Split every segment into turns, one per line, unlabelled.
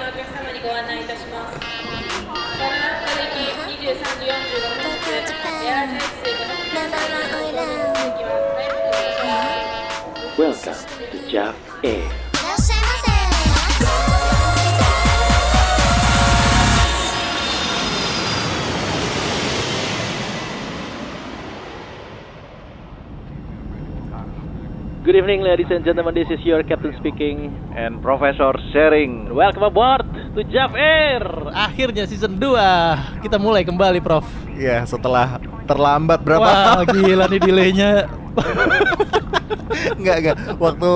ご案内いたします。ご覧のために23時45分発、エアースの席は早くお願いします。
Welcome to Jap Air.
いらっしゃいま
Good evening, ladies and gentlemen. This is your captain speaking.
and Professor Sharing.
Welcome aboard to Jap Air. Akhirnya season 2 kita mulai kembali, Prof.
Iya, setelah
Wah,
terlambat berapa?
gila nih delaynya.
Enggak, enggak. Waktu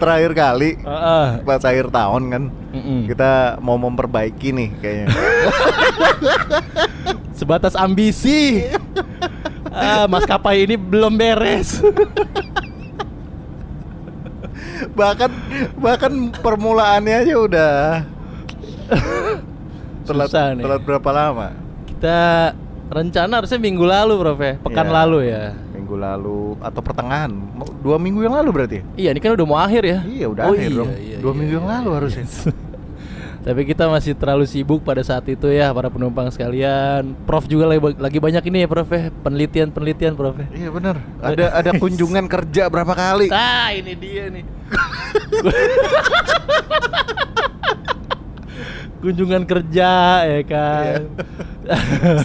terakhir kali
Heeh. Gitu.
pas akhir tahun kan
Mm-mm.
kita mau memperbaiki nih kayaknya.
Sebatas ambisi. Ah, maskapai ini belum beres.
bahkan bahkan permulaannya aja udah telat
Susah nih.
telat berapa lama?
Kita rencana harusnya minggu lalu, Prof ya. Pekan
Iya.
lalu ya.
Minggu lalu atau pertengahan? Mau- Dua minggu yang lalu berarti? ya?
Iya, ini kan udah mau akhir ya.
Iya, udah
Oh,
akhir
iya,
dong.
iya,
Dua
iya,
minggu yang
iya,
lalu
iya.
harusnya.
Tapi kita masih terlalu sibuk pada saat itu ya para penumpang sekalian. Prof juga lagi, lagi banyak ini ya Prof ya, penelitian-penelitian Prof ya.
Iya benar. Ada ada kunjungan kerja berapa kali?
Ah, ini dia nih. Kunjungan kerja ya kan.
Iya.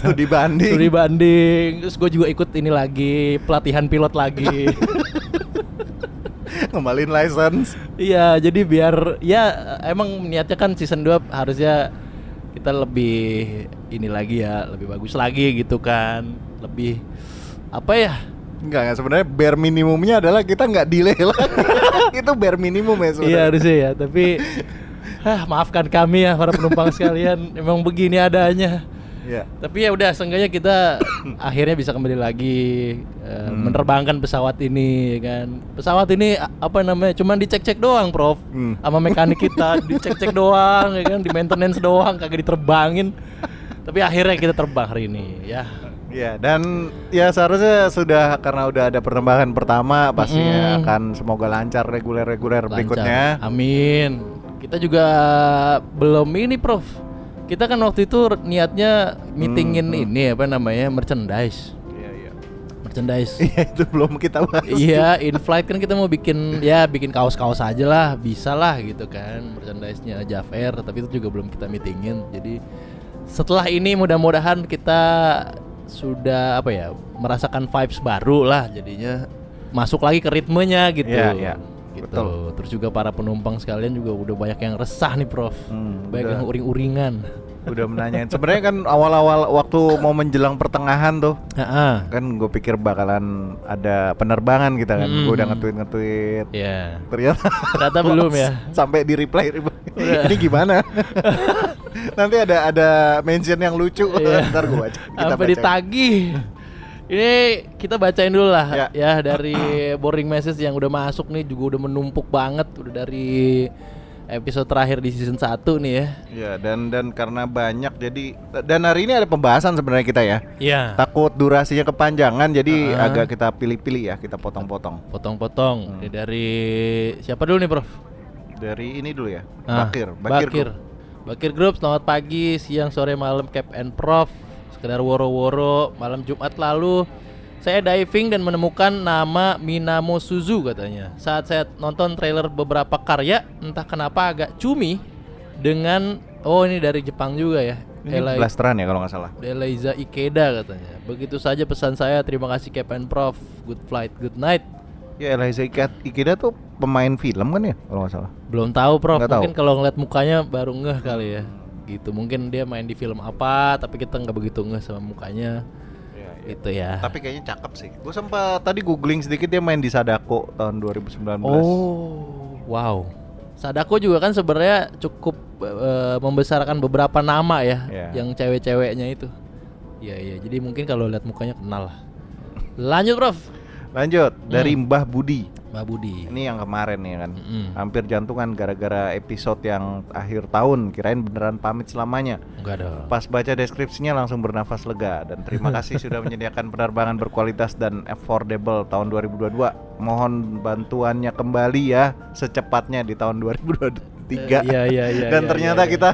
Studi banding.
Studi banding. Terus gue juga ikut ini lagi, pelatihan pilot lagi.
Ngembalin license.
Iya, jadi biar ya emang niatnya kan season 2 harusnya kita lebih ini lagi ya, lebih bagus lagi gitu kan. Lebih apa ya?
Enggak, enggak sebenarnya bare minimumnya adalah kita nggak delay lagi. itu bare minimum ya
Iya
sebenarnya.
harusnya ya, tapi ah, maafkan kami ya para penumpang sekalian, emang begini adanya.
Iya.
Tapi ya udah seenggaknya kita akhirnya bisa kembali lagi eh,
Hmm.
menerbangkan pesawat ini ya kan. Pesawat ini a- apa namanya? Cuman dicek-cek doang, Prof.
Hmm.
Sama mekanik kita dicek-cek doang ya kan, di maintenance doang kagak diterbangin. Tapi akhirnya kita terbang hari ini ya.
Iya, dan ya seharusnya sudah karena udah ada penerbangan pertama pastinya
Mm-mm.
akan semoga lancar reguler-reguler
Lancar.
berikutnya.
Amin. Kita juga belum ini, Prof. Kita kan waktu itu re- niatnya meetingin
Hmm,
ini apa namanya? merchandise.
Iya, iya.
Merchandise.
Iya, itu belum kita bahas.
Iya, in flight kan kita mau bikin ya bikin kaos-kaos aja lah, bisa lah gitu kan merchandise-nya Jav Air, tapi itu juga belum kita meetingin. Jadi setelah ini mudah-mudahan kita sudah apa ya merasakan vibes baru lah jadinya masuk lagi ke ritmenya gitu.
Iya, iya.
Gitu.
Betul.
Terus juga para penumpang sekalian juga udah banyak yang resah nih, Prof.
Hmm,
banyak
udah.
yang uring-uringan.
Udah menanyain. Sebenarnya kan awal-awal waktu mau menjelang pertengahan tuh
Heeh.
kan gue pikir bakalan ada penerbangan kita kan. Gue udah
Mm.
ngetweet ngetweet.
Ya.
Ternyata
Ternyata belum ya. Iya.
sampai di reply ini gimana nanti ada ada mention yang lucu
Iya.
ntar gue baca kita
Sampai
baca.
ditagih. Ini kita bacain dulu lah ya.
Ya.
dari boring message yang udah masuk nih juga udah menumpuk banget udah dari episode terakhir di season 1 nih ya.
ya dan dan karena banyak jadi dan hari ini ada pembahasan sebenarnya kita ya
Iya.
takut durasinya kepanjangan jadi
Ah.
agak kita pilih-pilih ya kita potong-potong Hmm.
Potong-potong. Ini dari siapa dulu nih, Prof?
dari ini dulu ya
Ah,
bakir bakir,
Bakir. Bakir Group, selamat pagi, siang, sore, malam, Cap and Prof. Sekedar woro-woro, malam Jumat lalu saya diving dan menemukan nama Minamo Suzu katanya. Saat saya nonton trailer beberapa karya, entah kenapa agak cumi dengan oh ini dari Jepang juga ya.
ini
Eli-
blasteran ya kalau nggak salah
Eliza Ikeda katanya. Begitu saja pesan saya. Terima kasih Cap and Prof. Good flight, good night.
ya Eliza Ike- Ikeda tuh pemain film kan ya kalau nggak salah
Belum tahu, Prof.
Nggak tahu.
mungkin kalau ngeliat mukanya baru ngeh kali ya. Gitu. Mungkin dia main di film apa, tapi kita nggak begitu ngeh sama mukanya. Gitu ya.
tapi kayaknya cakep sih gue sempat tadi googling sedikit dia main di Sadako tahun 2019
oh, wow. Sadako juga kan sebenarnya cukup eh, membesarkan beberapa nama ya,
Iya.
yang cewek-ceweknya itu. Iya iya. Jadi mungkin kalau lihat mukanya kenal lah. Lanjut, Prof.
Lanjut dari
Hmm.
Mbah Budi.
Mbak Budi.
Ini yang kemarin nih kan.
Mm-mm.
Hampir jantungan gara-gara episode yang akhir tahun. Kirain beneran pamit selamanya.
Enggak dong.
Pas baca deskripsinya langsung bernafas lega dan terima kasih sudah menyediakan penerbangan berkualitas dan affordable tahun 2022. Mohon bantuannya kembali ya secepatnya di tahun 2023.
Eh, iya, iya, iya,
dan
iya,
ternyata
iya, iya.
kita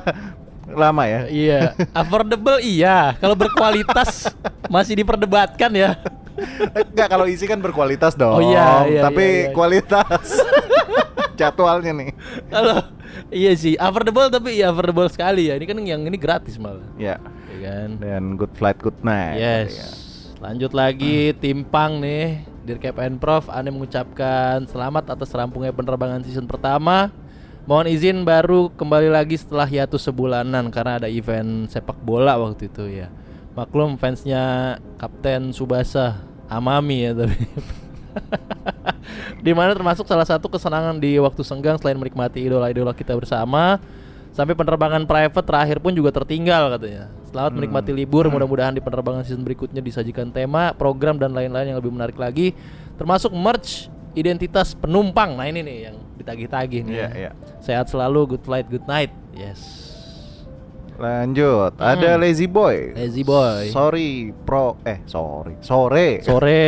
lama ya.
Iya, affordable iya. Kalau berkualitas masih diperdebatkan ya.
Enggak kalau isi kan berkualitas
Oh,
dong.
iya, iya, iya,
tapi
iya.
kualitas. Jadwalnya nih.
Kalau iya sih, affordable tapi iya affordable sekali ya. Ini kan yang ini gratis malah.
Ya.
Ya kan?
Dan good flight good night.
Yes.
Ya.
Lanjut lagi timpang nih. Dirkep Prof, Ane mengucapkan selamat atas rampungnya penerbangan season pertama. Mohon izin baru kembali lagi setelah hiatus sebulanan karena ada event sepak bola waktu itu ya. Maklum fansnya Kapten Subasa Amami ya tapi. Dimana termasuk salah satu kesenangan di waktu senggang selain menikmati idola-idola kita bersama Sampai penerbangan private terakhir pun juga tertinggal katanya.
Hmm.
Selamat menikmati libur, mudah-mudahan di penerbangan season berikutnya disajikan tema, program dan lain-lain yang lebih menarik lagi, termasuk merch identitas penumpang. Nah ini nih yang ditagih-tagih nih.
Iya,
ya.
iya.
Sehat selalu, good flight, good night. Yes.
Lanjut, ada Lazy Boy.
Hmm. Lazy Boy.
Sorry, Pro. Eh, sorry. Sore.
Sore.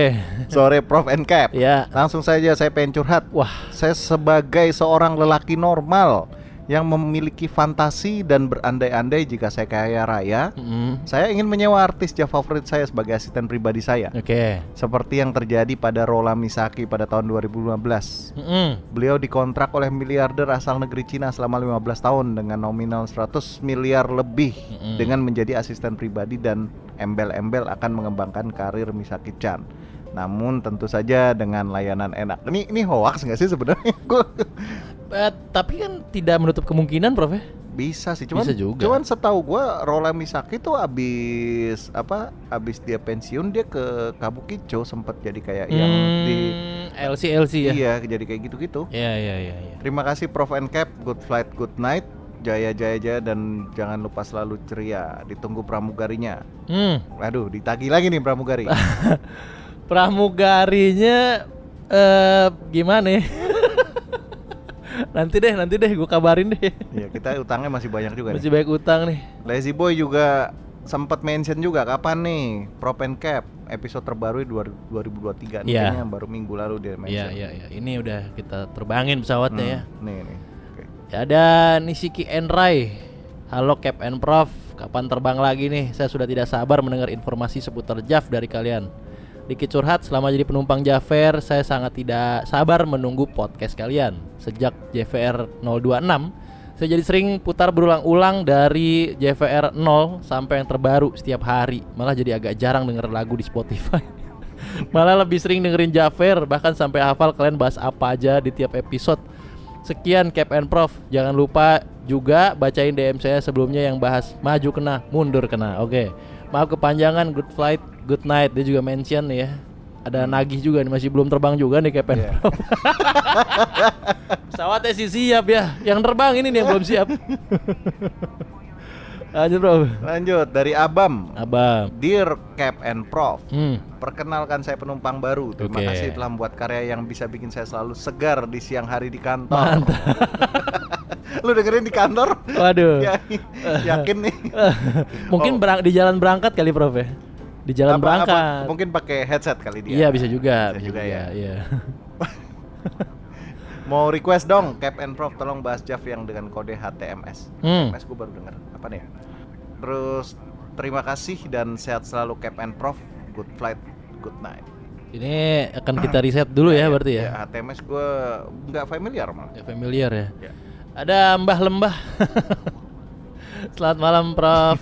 Sore Prof and Cap.
Iya.
Langsung saja saya pengen curhat.
Wah.
Saya sebagai seorang lelaki normal yang memiliki fantasi dan berandai-andai jika saya kaya raya,
Mm-mm.
saya ingin menyewa artis Jawa favorit saya sebagai asisten pribadi saya.
Oke.
Seperti yang terjadi pada Rola Misaki pada tahun 2015.
Mm-mm.
Beliau dikontrak oleh miliarder asal negeri Cina selama 15 tahun dengan nominal 100 miliar lebih
Mm-mm.
dengan menjadi asisten pribadi dan embel-embel akan mengembangkan karir Misaki Chan. Namun tentu saja dengan layanan enak. Ini ini hoax nggak sih sebenarnya? Gua
Eh, tapi kan tidak menutup kemungkinan, Prof ya.
bisa sih cuman
Bisa juga.
cuman setahu gua Rola Misaki tuh abis apa abis dia pensiun dia ke Kabukicho sempat jadi kayak yang di
Hmm, LC LC ya.
iya jadi kayak gitu-gitu.
Iya, iya, iya, iya.
Terima kasih Prof and Cap, good flight, good night. Jaya jaya jaya dan jangan lupa selalu ceria. Ditunggu pramugarinya.
Hmm.
Aduh, ditagi lagi nih pramugari.
pramugarinya eh gimana ya? nanti deh, nanti deh gue kabarin deh.
ya, kita utangnya masih banyak juga
Masih
nih.
banyak utang nih.
Lazy Boy juga sempat mention juga kapan nih Prof and Cap episode terbaru di duar- 2023 nih,
Iya.
kayaknya baru minggu lalu dia
Iya,
mention.
iya, iya. Ini udah kita terbangin pesawatnya ya.
Hmm, Nih nih. Oke.
Ya, Ada Nishiki Enrai. Halo Cap and Prof, kapan terbang lagi nih? Saya sudah tidak sabar mendengar informasi seputar JAF dari kalian. Dikit curhat, selama jadi penumpang Jafer, saya sangat tidak sabar menunggu podcast kalian. Sejak JVR 026, saya jadi sering putar berulang-ulang dari JVR 0 sampai yang terbaru setiap hari. Malah jadi agak jarang denger lagu di Spotify. Malah lebih sering dengerin Jafer Bahkan sampai hafal kalian bahas apa aja di tiap episode Sekian Cap and Prof Jangan lupa juga bacain DM saya sebelumnya yang bahas Maju kena, mundur kena Oke Maaf kepanjangan, good flight, good night Dia juga mention nih ya Ada
Hmm.
nagih juga nih, masih belum terbang juga nih Cap
Iya.
and Prof Pesawatnya sih siap ya Yang terbang ini nih yang belum siap Lanjut Prof
Lanjut dari Abam.
Abang
Dear Cap and Prof.
hmm.
Perkenalkan saya penumpang baru. Terima
Oke.
kasih telah membuat karya yang bisa bikin saya selalu segar di siang hari di kantor.
Mantap
Lu dengerin di kantor?
Waduh
Ya, yakin nih.
Mungkin berang- di jalan berangkat kali Prof ya. Di jalan
Apa-
berangkat.
apa- mungkin pakai headset kali dia.
Iya bisa juga,
Bisa juga ya.
Iya.
Mau request dong, Cap and Prof tolong bahas Jav yang dengan kode HTMS.
Hmm.
HTMS gue baru denger. Apa nih? ya? Terus terima kasih dan sehat selalu Cap and Prof. Good flight, good night.
Ini akan kita riset dulu ya berarti ya.
Ya, HTMS gue nggak familiar malah.
Ya, familiar ya.
Ya.
Ada Mbah Lembah. Selamat malam Prof.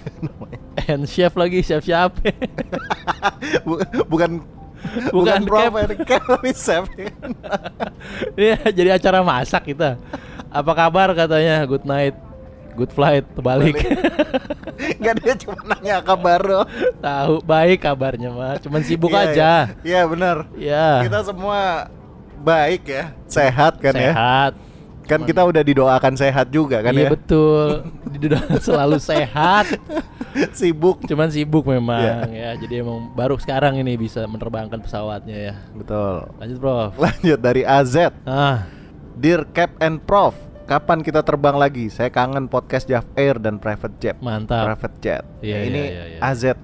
And chef lagi chef siapa?
Bu- bukan
Bukan
Prof
Cap.
and Cap, tapi Chef.
Ini jadi acara masak kita. Apa kabar katanya? Good night. Good flight terbalik.
Enggak dia cuma nanya kabar doang.
Tahu baik kabarnya mah, cuman sibuk
Iya,
aja.
Iya Iya, benar.
Ya.
Kita semua baik ya, sehat kan ya.
Sehat.
Kan kita udah didoakan sehat juga kan
iya
ya.
betul. Didoakan selalu sehat.
Sibuk.
Cuman sibuk memang
Iya.
ya. Jadi emang baru sekarang ini bisa menerbangkan pesawatnya ya.
Betul.
Lanjut, Prof.
Lanjut dari AZ.
Ah,
Dear Cap and Prof, kapan kita terbang lagi? Saya kangen podcast Jav Air dan Private Jet.
mantap.
Private Jet. Nah,
Iya, iya,
ini
iya, iya.
AZ.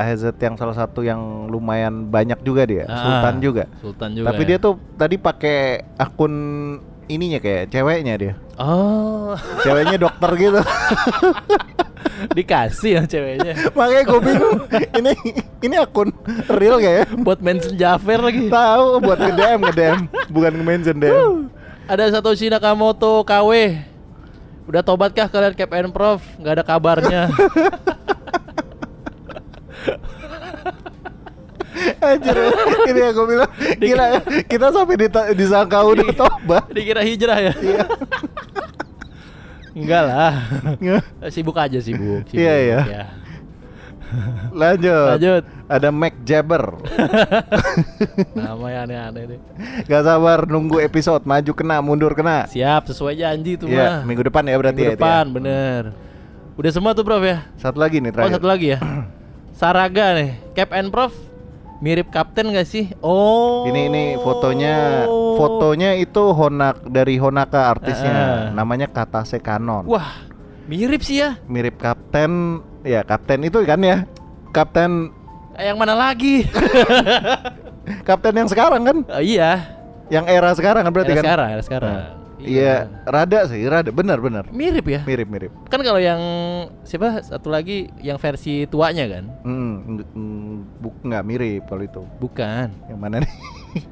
AZ yang salah satu yang lumayan banyak juga dia,
Ah,
Sultan juga.
Sultan juga.
Tapi
ya.
dia tuh tadi pakai akun ininya kayak ceweknya dia.
Oh.
ceweknya dokter gitu
Dikasih yang ceweknya.
Makanya gue bingung. Ini ini akun real gak ya?
Buat mention Jafar lagi.
Tahu buat ke DM, ke DM, bukan ke mention DM.
Ada Satoshi Nakamoto KW. Udah tobat kah kalian Cap and Prof? Gak ada kabarnya.
Anjir, ini yang gue bilang gila ya, kita sampai dita- disangka udah
Iya.
tobat.
Dikira hijrah ya?
Iya.
Enggak lah. Eh, Sibuk aja sibuk. sibuk,
Iya, iya.
ya.
Lanjut.
Lanjut.
Ada Mac Jabber.
Namanya ya, aneh-aneh deh.
Gak sabar nunggu episode maju kena, mundur kena.
Siap sesuai janji tuh mah.
Iya, minggu depan ya berarti
Minggu
ya itu
depan
ya.
bener. Udah semua tuh Prof ya?
Satu lagi nih
Oh
terakhir.
satu lagi ya. Saraga nih, Cap and Prof mirip kapten gak sih? Oh.
Ini ini fotonya fotonya itu Honak dari Honaka artisnya.
Ah.
Namanya Katase Kanon.
Wah, mirip sih ya.
mirip kapten ya kapten itu kan ya kapten
Eh, Yang mana lagi?
kapten yang sekarang kan
Eh, iya.
yang era sekarang kan berarti
Era
kan
sekarang, era sekarang.
Nah, iya rada sih rada benar benar
Mirip ya.
mirip mirip
Kan kalau yang siapa satu lagi yang versi tuanya kan?
hmm, ng- ng- bu- nggak mirip kalau itu
Bukan.
yang mana nih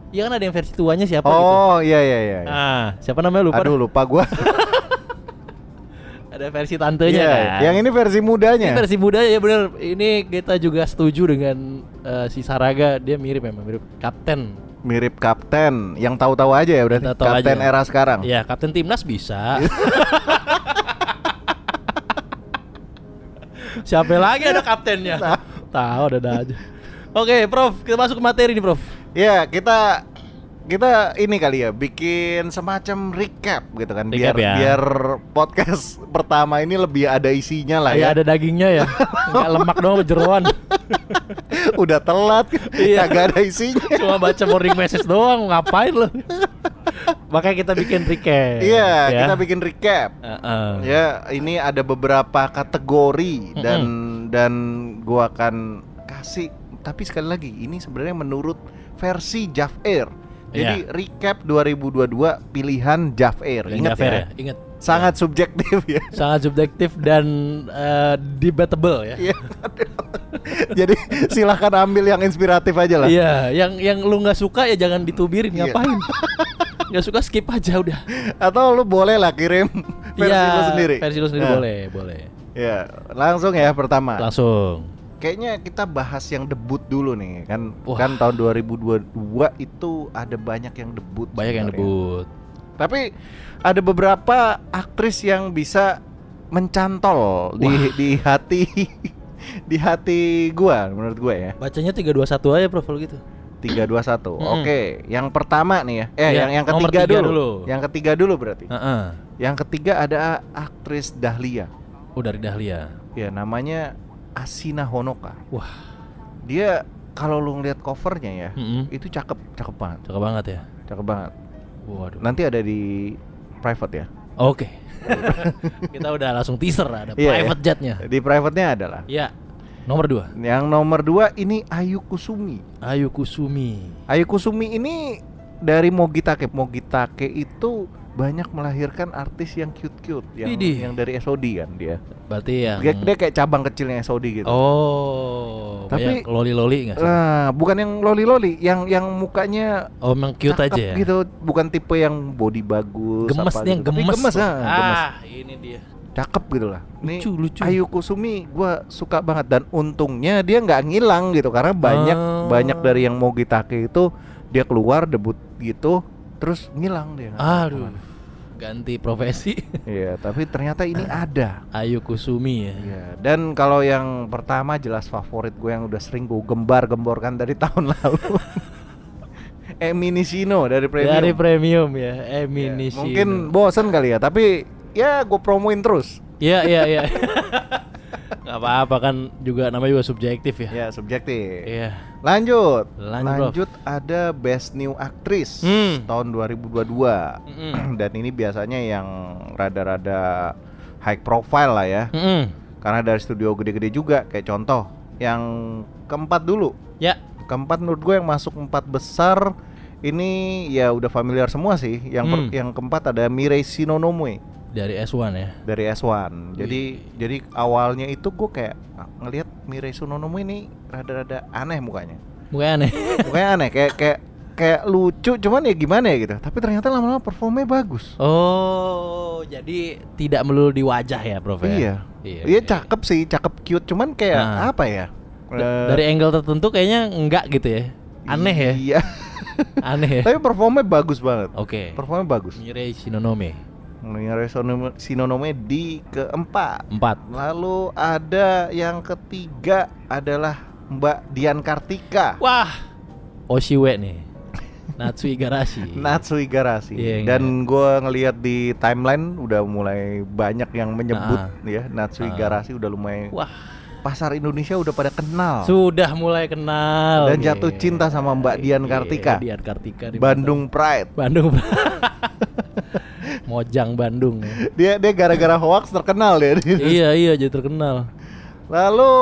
Iya kan ada yang versi tuanya siapa gitu.
oh iya iya iya iya.
Ah, siapa namanya lupa.
aduh
dah.
lupa gua
Ada versi tantenya
Iya,
kan.
yang ini versi mudanya
Ini versi muda ya bener. Ini kita juga setuju dengan eh, si Saraga dia mirip memang mirip kapten.
mirip kapten yang tahu-tahu aja ya berarti
Tahu-tahu
kapten
aja.
era sekarang
Ya kapten timnas bisa. Siapa lagi ada kaptennya?
Nah.
Tahu ada aja. Oke, Prof, kita masuk ke materi nih, Prof.
Ya kita kita ini kali ya bikin semacam recap gitu kan
Recap
biar
ya.
biar podcast pertama ini lebih ada isinya lah ya.
Kayak ada dagingnya ya. Enggak lemak doang sama jeroan.
Udah telat
Iya.
kagak ada isinya.
Cuma baca morning message doang, ngapain lo? Makanya kita bikin recap.
Iya,
ya.
kita bikin recap.
Heeh.
Ya, ini ada beberapa kategori dan dan gua akan kasih tapi sekali lagi ini sebenarnya menurut versi Jaf Air. Jadi
Iya.
recap 2022 pilihan Jaf Air.
Yang
Ingat
Jafar
ya.
ya, Ingat.
Sangat subjektif ya.
Sangat subjektif dan eh, debatable ya.
Iya. Jadi silahkan ambil yang inspiratif aja lah.
Iya, yang yang lu nggak suka ya jangan ditubirin
Iya.
ngapain. Nggak suka skip aja udah.
Atau lu boleh lah kirim versi
Iya,
lu sendiri.
Versi lu sendiri
Nah,
boleh, boleh.
Ya, langsung ya pertama.
Langsung.
Kayaknya kita bahas yang debut dulu nih kan.
Wah.
Kan tahun 2022 itu ada banyak yang debut.
Banyak yang
sebenarnya.
debut.
Tapi ada beberapa aktris yang bisa mencantol di di hati di hati gua menurut gua ya.
Bacanya 321 aja Prof kalau gitu.
321.
Mm-mm.
Oke, yang pertama nih ya. Eh,
Iya,
yang yang
nomor
ketiga
tiga
dulu.
dulu.
Yang ketiga dulu berarti.
Heeh.
Yang ketiga ada aktris Dahlia.
Oh dari Dahlia.
Ya, namanya Asina Honoka.
Wah,
Dia kalau lu ngeliat covernya ya,
Mm-mm.
itu cakep, cakep banget,
cakep banget ya.
cakep banget.
Waduh.
Nanti ada di private ya.
Oke. Kita udah langsung teaser ada
Iya,
private
iya.
jetnya.
Di private-nya adalah.
Ya. Nomor 2.
Yang nomor dua ini Ayu Kusumi.
Ayu Kusumi.
Ayu Kusumi ini dari Mogitake. Mogitake itu banyak melahirkan artis yang cute-cute yang
Widih.
yang dari SOD kan dia.
Berarti yang
Dia, dia kayak cabang kecilnya SOD gitu.
Oh,
Tapi-
banyak loli-loli nggak sih?
Nah, bukan yang loli-loli, yang yang mukanya
Oh, emang cute
cakep
aja ya.
gitu, bukan tipe yang body bagus
Gemes
apa
dia
gitu. Tapi
gemes.
gemes,
tuh.
ah, gemes.
ini dia.
Cakep gitu lah. Ini
Lucu, lucu.
Ayu Kusumi gua suka banget dan untungnya dia nggak ngilang gitu karena banyak
Ah.
banyak dari yang mau gitake itu dia keluar debut gitu terus ngilang dia. nggak tahu
Aduh.
kemana.
Ganti profesi
Iya, tapi ternyata ini ada.
Ayu Kusumi ya.
Iya, dan kalau yang pertama jelas favorit gue yang udah sering gue gembar-gemborkan dari tahun lalu. Eminisino dari Premium.
Dari premium ya,
Iya,
Emini
Mungkin bosen kali ya, tapi ya gue promoin terus.
Ya, ya, ya. Gak apa-apa kan juga namanya juga subjektif ya.
Ya, subjektif.
Iya.
Lanjut.
Lanjut,
ada Best New Actress
Hmm.
tahun 2022.
Mm-mm.
Dan ini biasanya yang rada-rada high profile lah ya.
Mm-mm.
Karena dari studio gede-gede juga kayak contoh yang keempat dulu.
Ya,
Keempat menurut gue yang masuk empat besar ini ya udah familiar semua sih. Yang per-
Hmm.
yang keempat ada Mirei Shinonomue.
dari S1 ya.
dari S1. Jadi jadi awalnya itu gue kayak "Ah, ngelihat Mirei Sunonomo ini rada-rada aneh mukanya.
Mukanya aneh.
Mukanya aneh kayak kayak kayak lucu cuman ya gimana ya gitu. Tapi ternyata lama-lama performnya bagus.
Oh, jadi tidak melulu di wajah ya, Prof ya?
Iya. Iya, cakep sih, cakep cute cuman kayak
Nah.
apa ya?
Da- dari angle tertentu kayaknya enggak gitu ya. Aneh ya?
Iya.
Aneh ya.
Tapi performnya bagus banget.
Oke.
Performnya bagus.
Mirei Shinonome.
Mirei Sunonomo Sunonomo di keempat.
4.
Lalu ada yang ketiga adalah Mbak Dian Kartika.
Wah. Oshiwe nih. Natsui Garashi.
Natsui Garasi
Iya, yang
dan gue ngelihat di timeline udah mulai banyak yang menyebut ya Natsui
Ah.
Garasi udah lumayan
Wah,
pasar Indonesia udah pada kenal
sudah mulai kenal.
Oh. dan jatuh cinta sama Mbak Dian
Iya,
Kartika
Dian Kartika di
Bandung Pride
mata- Bandung. Mojang Bandung. ya.
dia dia gara-gara hoax terkenal ya
iya, iya jadi terkenal.
lalu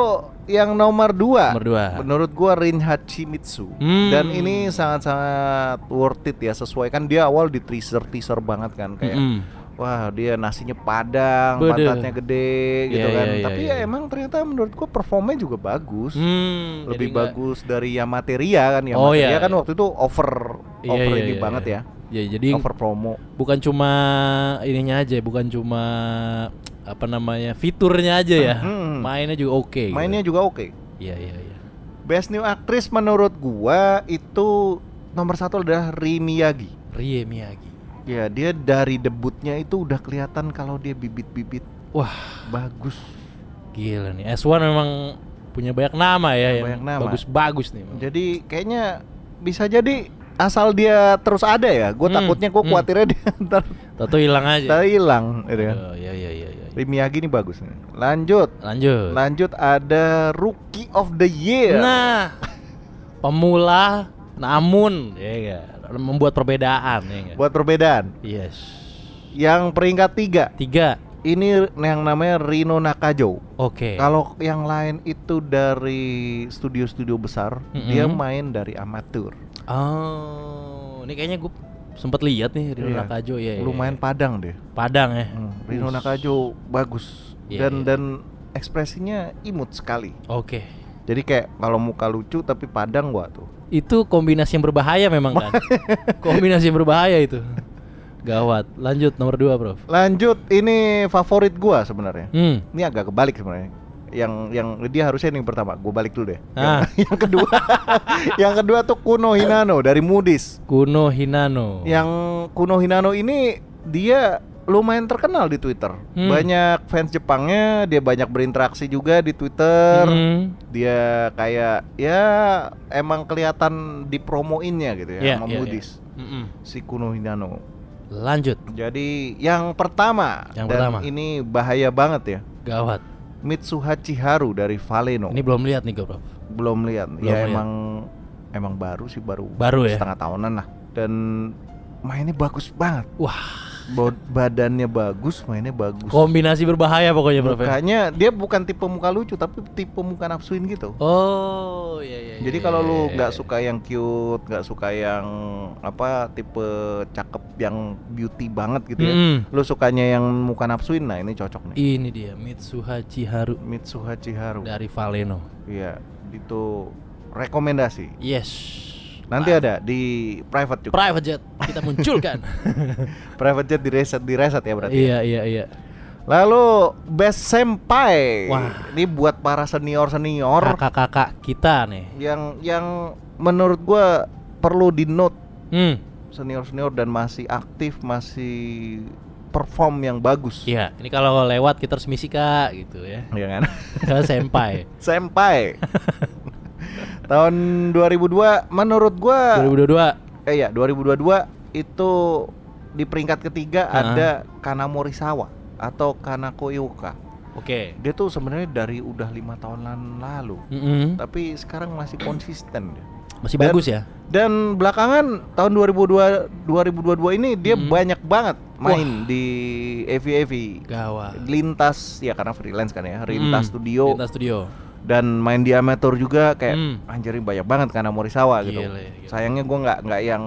yang nomor dua
Nomor dua.
menurut gue Rin Hachimitsu
Hmm.
dan ini sangat-sangat worth it ya sesuai kan dia awal di teaser teaser banget kan kayak
Mm-mm.
Wah dia nasinya padang,
Beuduh.
pantatnya gede gitu
Iya,
kan.
iya, iya,
Tapi
iya.
ya emang ternyata menurut gua performnya juga bagus.
Hmm,
Lebih
jadi nggak-
bagus dari Yamateria kan. Yamateria
Oh, iya,
kan
iya.
waktu itu over
Iya,
over
iya,
ini
iya,
banget
iya. Ya jadi
ya. Over promo.
bukan cuma ininya aja, ya, bukan cuma apa namanya fiturnya aja ya,
Mm-mm.
mainnya juga oke. gitu.
Mainnya juga oke.
Iya iya iya.
Best new actress menurut gua itu nomor satu adalah Ri Miyagi.
Rie Miyagi.
Ya dia dari debutnya itu udah kelihatan kalau dia bibit-bibit
Wah
bagus.
gila nih. S1 memang punya banyak nama ya
Banyak
yang
nama.
bagus-bagus nih. memang.
Jadi kayaknya bisa jadi asal dia terus ada ya. Gue
Hmm,
takutnya gue
hmm.
khawatirnya dia ntar
Tato hilang aja.
Tapi hilang gitu kan.
Oh, iya iya iya. iya.
Rimiyagi ini bagus nih. Lanjut.
Lanjut.
Lanjut ada Rookie of the Year.
Nah, pemula namun ya nggak? membuat perbedaan ya nggak?
Buat perbedaan.
Yes.
Yang peringkat tiga
Tiga.
ini yang namanya Rino Nakajo.
Oke.
Kalau yang lain itu dari studio-studio besar,
Mm-mm.
dia main dari amatir.
Oh, ini kayaknya gue sempet lihat nih Rino
Iya.
Nakajo ya. ya,
Lumayan
ya.
padang deh.
Padang ya.
Hmm, Rino Nakajo bagus
Iya,
dan
iya.
dan ekspresinya imut sekali.
Oke.
Jadi kayak kalau muka lucu tapi padang gua tuh.
Itu kombinasi yang berbahaya memang kan. kombinasi yang berbahaya itu. Gawat. Lanjut nomor dua, Prof.
Lanjut, ini favorit gua sebenarnya.
Hmm.
Ini agak kebalik sebenarnya. Yang yang dia harusnya ini yang pertama, gua balik dulu deh.
Ah.
Yang, yang kedua. yang kedua tuh Kuno Hinano dari Moody's.
Kuno Hinano.
Yang Kuno Hinano ini dia lumayan terkenal di Twitter.
Hmm.
Banyak fans Jepangnya, dia banyak berinteraksi juga di Twitter.
Hmm.
Dia kayak ya emang kelihatan dipromoinnya gitu ya
Iya,
sama
iya,
Moody's.
iya. Mm-mm.
Si Kuno Hinano.
Lanjut.
Jadi yang pertama
Yang
dan
pertama.
ini bahaya banget ya.
Gawat.
Mitsuhachi Haru dari Valeno.
Ini belum lihat nih gue, Prof.
belum lihat.
Belum
ya
lihat.
emang emang baru sih baru
Baru ya?
setengah tahunan lah. Dan mainnya bagus banget.
Wah,
Bod- Badannya bagus, mainnya bagus.
kombinasi berbahaya pokoknya, Prof. ya.
Mukanya dia bukan tipe muka lucu tapi tipe muka nafsuin gitu.
Oh, iya iya.
Jadi
iya,
kalau
iya,
lu
iya,
nggak
iya.
suka yang cute, nggak suka yang apa tipe cakep yang beauty banget gitu ya.
Mm-mm. Iya.
Lu sukanya yang muka nafsuin, nah ini cocok nih.
ini dia Mitsuhachi Haru
Mitsuhachi Haru.
dari Valeno.
Iya, itu rekomendasi.
Yes.
Nanti ada di private juga.
Private jet kita munculkan.
private jet di reset di reset ya berarti.
iya iya iya.
Lalu best senpai.
Wah.
Ini buat para senior-senior
Kakak-kakak kita nih.
yang yang menurut gua perlu di note
Hmm.
senior-senior dan masih aktif, masih perform yang bagus.
Iya, ini kalau lewat kita harus misi Kak gitu ya.
Iya kan?
Kalau senpai.
senpai. Tahun 2002 menurut gua
2022.
eh ya 2022 itu di peringkat ketiga
Ha-ha.
ada Kanamorisawa atau Kanako Iuka.
Oke.
Dia tuh sebenarnya dari udah lima tahunan lalu,
Mm-mm.
tapi sekarang masih konsisten. dia.
Masih
Dan-
bagus ya.
Dan belakangan tahun 2002 2022 ini dia banyak banget main di AVAV
Gawat.
lintas ya karena freelance kan ya, lintas
Mm.
studio
Ah. Lintas studio.
dan main di amatur juga kayak
Hmm.
anjirin banyak banget karena Morisawa kan gitu.
Gile, gile.
Sayangnya gua nggak nggak yang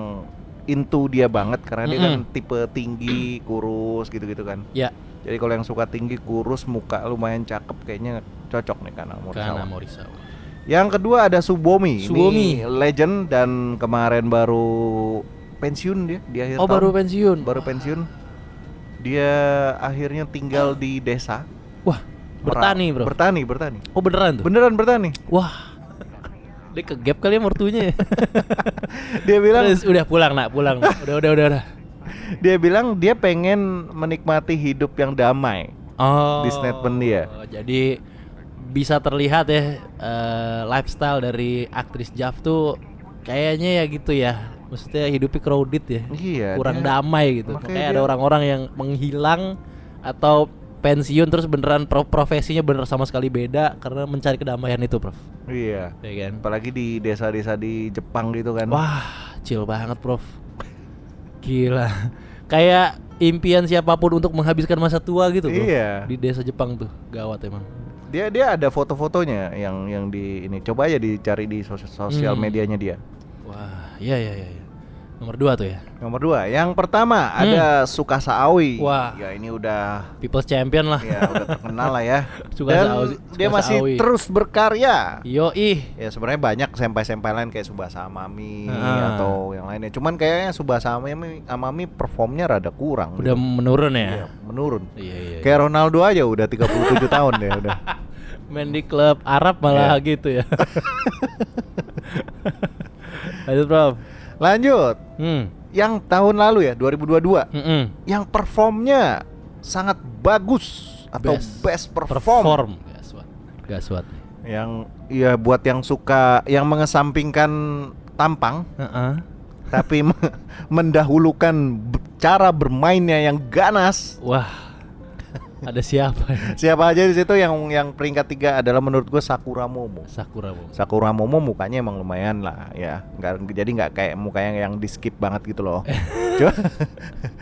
into dia banget karena dia kan
Mm-mm.
tipe tinggi, kurus gitu-gitu kan.
Ya,
Jadi kalau yang suka tinggi, kurus, muka lumayan cakep kayaknya cocok nih karena
Kana Morisawa.
Yang kedua ada Subomi. Ini
Subomi.
legend dan kemarin baru pensiun dia di akhir
Oh,
tahun.
baru pensiun.
Baru pensiun. Dia akhirnya tinggal di desa.
Wah, bertani, Bro.
Bertani, bertani.
oh, beneran tuh.
Beneran bertani.
Wah. Dia kegap kali ya mertunya. ya.
Dia bilang
Terus udah pulang, Nak, pulang. Nak. Udah, udah, udah, udah.
dia bilang dia pengen menikmati hidup yang damai.
Oh.
Di statement dia.
Jadi bisa terlihat ya eh, lifestyle dari aktris Jav tuh kayaknya ya gitu ya. Maksudnya hidupnya crowded ya.
Iya,
Kurang
dia-
damai gitu.
makanya
Makanya ada
dia-
orang-orang yang menghilang atau pensiun terus beneran pro- profesinya bener sama sekali beda karena mencari kedamaian itu, Prof.
Iya.
Ya kan?
Apalagi di desa-desa di Jepang gitu kan.
Wah, chill banget, Prof. Gila. Kayak impian siapapun untuk menghabiskan masa tua gitu, Prof.
Iya.
Di desa Jepang tuh, gawat emang.
Dia dia ada foto-fotonya yang yang di ini. Coba aja dicari di sos- sosial
Hmm.
medianya dia.
Wah, iya iya iya. iya. Nomor dua tuh ya.
Nomor dua, yang pertama ada Sukasa Aoi.
Hmm. Wah.
Ya ini udah
People's Champion lah.
ya udah terkenal lah ya.
Tsukasa
Dan
Aoi-
dia
Tsukasa
masih
Aoi.
terus berkarya.
Yo ih.
Ya sebenarnya banyak senpai-senpai lain kayak Subasa Amami
Ah.
atau yang lainnya. Cuman kayaknya Subasa Amami, Amami performnya rada kurang.
Udah menurun
Iya,
ya.
menurun.
Iya iya. iya.
Kayak Ronaldo aja udah 37 tahun ya udah.
Main di klub Arab malah
Iya.
gitu ya. Lanjut, Prof.
Lanjut,
Hmm.
yang tahun lalu ya 2022
Mm-mm.
yang performnya sangat bagus atau best, perform.
Perform. Gaswat. Gaswat.
yang ya buat yang suka yang mengesampingkan tampang
Heeh.
tapi me- mendahulukan b- cara bermainnya yang ganas
Wah. Ada siapa ya?
siapa aja di situ yang yang peringkat tiga adalah menurut gue Sakura Momo
Sakura Bung.
Sakura Momo mukanya emang lumayan lah ya nggak jadi nggak kayak mukanya yang di skip banget gitu loh Cuma-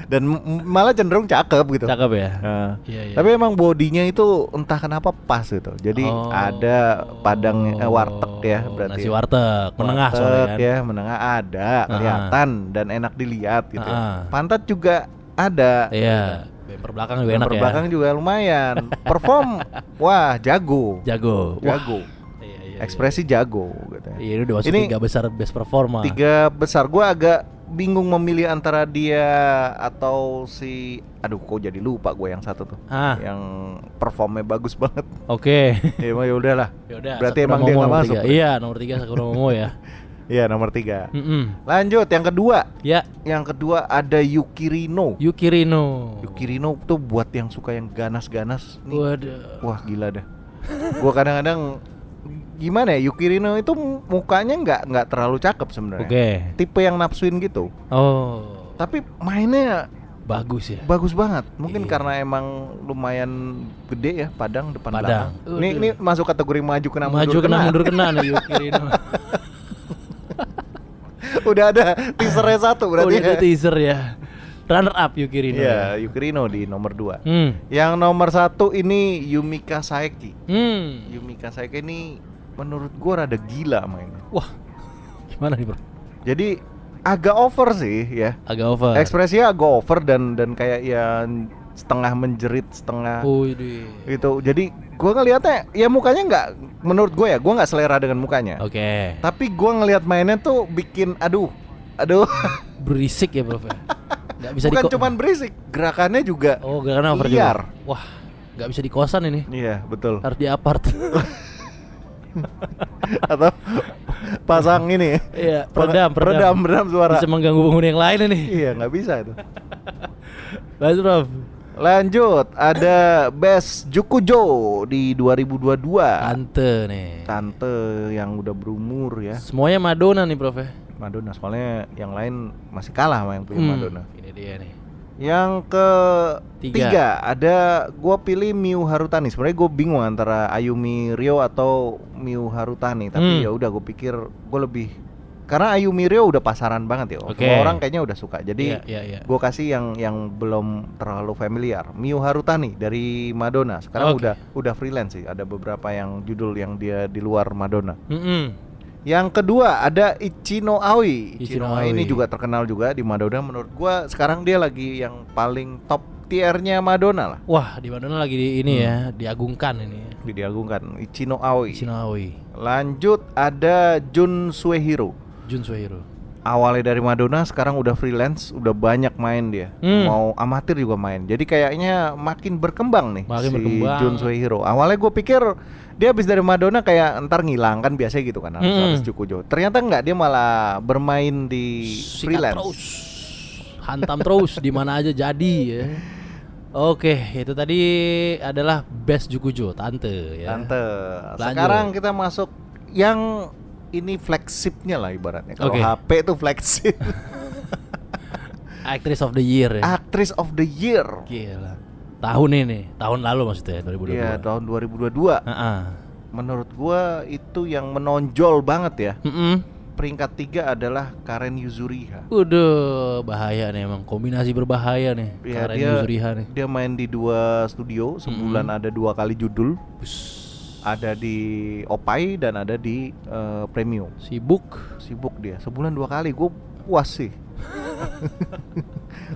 dan m- malah cenderung cakep gitu
Cakep ya.
Nah,
Iya, iya.
Tapi emang bodinya itu entah kenapa pas gitu. Jadi
Oh.
ada padang eh, warteg ya berarti.
Nasi warteg menengah
Warteg
soalnya kan.
ya menengah ada kelihatan dan enak dilihat gitu ya.
Ah.
pantat juga ada
Iya. Bemper belakang juga enak
Bumper
ya.
belakang juga lumayan perform wah jago
Jago. Wah.
jago
Iya, iya,
ekspresi jago gitu ya.
Iya, ini udah masuk
Ini-
tiga besar best performa.
tiga besar gua agak bingung memilih antara dia atau si aduh kok jadi lupa gue yang satu tuh
Ah,
yang performnya bagus banget
oke.
ya emang ya udahlah
Yaudah,
Berarti
Sakura
emang dia
Momo
nggak
nomor
masuk.
tiga. Iya, nomor tiga Sakura Momo ya.
ya nomor tiga
Mm-mm.
lanjut yang kedua
Ya,
yang kedua ada Yukirino
Yukirino.
Yukirino tuh buat yang suka yang ganas-ganas nih.
Waduh.
Wah gila dah. Gua kadang-kadang gimana ya Yukirino itu mukanya nggak nggak terlalu cakep
Oke.
sebenarnya. Tipe yang nafsuin gitu.
Oh,
Tapi mainnya
bagus ya.
bagus banget. Mungkin
Iya.
karena emang lumayan gede ya Padang depan
Padang.
belakang. Ini
Aduh.
ini masuk kategori maju kena
Maju
mundur
kena
kena.
mundur kena nih Yukirino.
Udah ada teasernya satu
oh,
berarti.
itu teaser ya. Iya. Runner up Yukirino.
ya Yukirino di nomor 2
Hmm.
Yang nomor satu ini Yumika Saeki.
Hmm.
Yumika Saeki ini menurut gua rada gila mainnya.
Wah. Gimana nih, Bro?
Jadi agak over sih ya.
Agak over.
Ekspresinya agak over dan dan kayak ya setengah menjerit, setengah
Oh. Wih.
gitu. Jadi gua ngelihatnya ya mukanya nggak menurut gue ya, gua nggak selera dengan mukanya.
Oke.
Tapi gua ngelihat mainnya tuh bikin aduh. Aduh,
Berisik ya, Prof. ya? Nggak bisa
bukan
diko-
cuman berisik, gerakannya juga.
Oh, gerakan over juga.
Liar.
Wah, nggak bisa di kosan ini.
Iya, betul.
Harus di apart.
Atau pasang ini.
Iya, peredam, peredam.
peredam, peredam suara.
Bisa mengganggu penghuni yang lain ini.
Iya, nggak bisa itu.
Lanjut, Prof.
Lanjut, ada Best Jukujo di 2022.
Tante nih.
Tante yang udah berumur ya.
Semuanya Madonna nih, Prof ya.
Madonna soalnya yang lain masih kalah sama yang punya
Hmm,
Iya, Madonna.
Ini dia nih.
Yang ke
Tiga.
tiga, ada gua pilih Miu Harutani. Sebenarnya gue bingung antara Ayumi Rio atau Miu Harutani, tapi
Hmm.
ya udah gue pikir gue lebih karena Ayumi Rio udah pasaran banget ya.
Oke.
Semua orang kayaknya udah suka.
Iya,
Jadi
iya, iya.
gue kasih yang yang belum terlalu familiar Miu Harutani dari Madonna
Oke.
sekarang udah udah freelance sih ada beberapa yang judul yang dia di luar Madonna
Mm-mm.
Yang kedua ada Ichino Aoi.
Ichino
Ichino Aoi ini
Aoi.
juga terkenal juga di Madonna menurut gua sekarang dia lagi yang paling top tiernya Madonna lah.
Wah, di Madonna lagi di ini ya,
Hmm.
diagungkan ini. ya.
Diagungkan Ichino Aoi.
Shinaoi,
Lanjut ada Jun Suehiro.
Jun Suhiro.
Awalnya dari Madonna, sekarang udah freelance, udah banyak main dia.
Hmm.
Mau amatir juga main. Jadi kayaknya makin berkembang nih
Makin
si
berkembang.
Jun Suehiro. Awalnya gue pikir dia habis dari Madonna kayak ntar ngilang kan biasanya gitu kan harus
Hmm.
harus cukup jauh. Ternyata nggak dia malah bermain di
Sikat
freelance.
terus. Hantam terus di mana aja jadi ya. Oke, itu tadi adalah Best Jukujo Tante ya.
Tante.
Lanjut.
Sekarang kita masuk yang ini flagshipnya lah ibaratnya. Kalau
Oke.
HP itu flagship.
Actress of the Year ya.
Actress of the Year.
Gila. Tahun ini, tahun lalu maksudnya 2022.
Iya, tahun 2022.
Heeh.
Menurut gua itu yang menonjol banget ya.
Mm-mm.
Peringkat tiga adalah Karen Yuzuriha.
Udah bahaya nih emang kombinasi berbahaya nih.
Ya,
Karen
dia,
Yuzuriha nih.
dia main di dua studio sebulan ada dua kali judul. Ada di Opai dan ada di eh, Premium.
Sibuk.
Sibuk dia sebulan dua kali. Gue puas sih.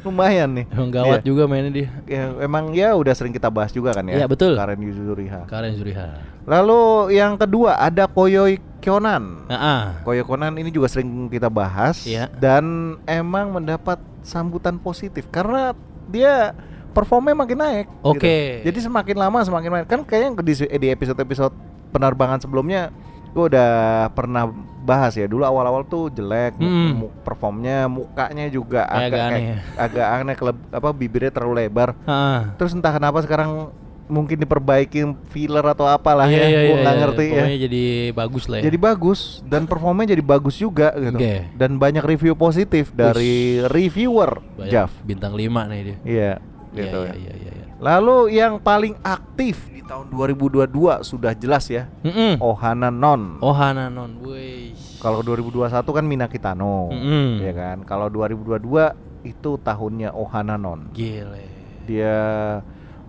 Lumayan nih.
Emang gawat
Dia.
juga mainnya dia.
Ya, emang ya udah sering kita bahas juga kan ya.
Iya, betul.
Karen Yuzuriha.
Karen Yuzuriha.
Lalu yang kedua ada Koyoi Kyonan.
Nah, Heeh.
Koyo Konan ini juga sering kita bahas
Iya.
dan emang mendapat sambutan positif karena dia performnya makin naik. gitu.
Oke.
Jadi semakin lama semakin naik. Kan kayaknya di, di episode-episode penerbangan sebelumnya gue udah pernah bahas ya dulu awal-awal tuh jelek mu-
Hmm.
mu- performnya mukanya juga
Kayak
agak
agak
kayak-
aneh ya.
agak aneh keleb- apa bibirnya terlalu lebar
Heeh.
terus entah kenapa sekarang mungkin diperbaikin filler atau apalah
Iya,
ya
iya,
gue
iya,
nggak
iya.
ngerti ya
Pokoknya jadi bagus lah ya.
jadi bagus dan performnya jadi bagus juga gitu.
Oke.
Dan banyak review positif dari reviewer
Banyak
Jav.
bintang 5 nih dia.
Iya,
Iya,
gitu
iya,
ya.
iya, iya, iya.
Lalu yang paling aktif di tahun 2022 sudah jelas ya,
Mm-mm.
Ohana
Hmm.
Non.
Oh, Hananon, woi.
Kalau 2021 kan Minakitano.
Mm-mm.
Ya kan? Kalau 2022 itu tahunnya Ohana Non.
Gile.
Dia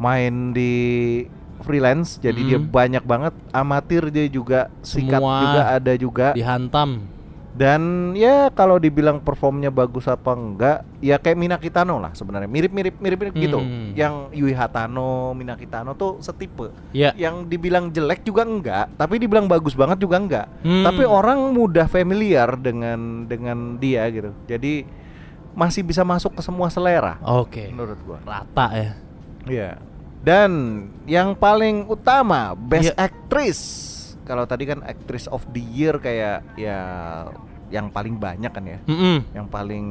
main di freelance jadi dia
Mm.
banyak banget amatir dia juga sikat
Semua
juga ada juga
Dihantam.
Dan ya kalau dibilang performnya bagus apa enggak, ya kayak Minakitano lah sebenarnya. Mirip-mirip mirip-mirip gitu.
Hmm.
Yang Yui Hatano, Minakitano tuh setipe.
Ya.
Yang dibilang jelek juga enggak, tapi dibilang bagus banget juga enggak.
Hmm.
Tapi orang mudah familiar dengan dengan dia gitu. Jadi masih bisa masuk ke semua selera
Oke.
menurut gua.
Rata ya.
Iya. Dan yang paling utama best
Iya.
actress. Kalau tadi kan actress of the year kayak ya yang paling banyak kan ya.
Mm-mm.
Yang paling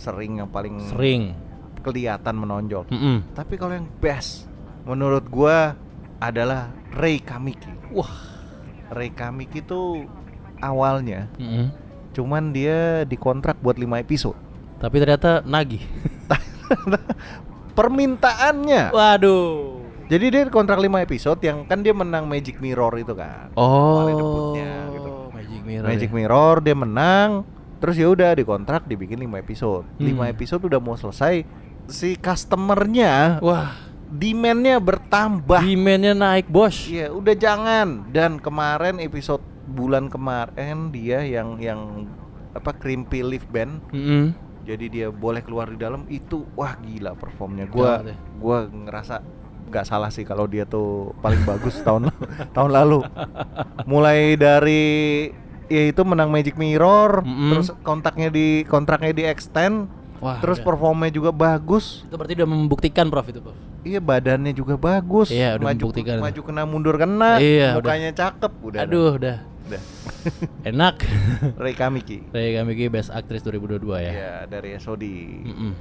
sering yang paling
Sering.
kelihatan menonjol.
Mm-mm.
Tapi kalau yang best menurut gua adalah Rei Kamiki.
Wah.
Rei Kamiki tuh awalnya
Mm-mm.
cuman dia dikontrak buat 5 episode.
Tapi ternyata nagih.
Permintaannya.
Waduh.
Jadi dia kontrak 5 episode yang kan dia menang Magic Mirror itu kan. Awalnya
Oh.
debutnya gitu.
Magic Mirror.
Magic
ya.
Mirror dia menang, terus ya udah dikontrak dibikin 5 episode.
Hmm.
5 episode udah mau selesai, si customernya
Wah.
demandnya bertambah.
Demand-nya naik, Bos.
Iya, udah jangan. Dan kemarin episode bulan kemarin dia yang yang apa Crimpy Leaf Band
Mm-mm.
jadi dia boleh keluar di dalam itu wah gila performnya
Gila
gua
deh.
gua ngerasa nggak salah sih kalau dia tuh paling bagus tahun tahun lalu mulai dari ya itu menang Magic Mirror
Mm-mm.
terus kontaknya di kontraknya di extend
Wah. iya.
terus
udah.
performnya juga bagus
itu berarti udah membuktikan Prof itu, Prof.
iya badannya juga bagus
Iya, udah
maju
membuktikan.
maju kena mundur kena
Iya,
mukanya cakep udah
Aduh, udah.
udah
Enak.
Reika Miki
Raya Kamiki Best Actress 2022 ya.
ya dari Saudi
Mm-mm.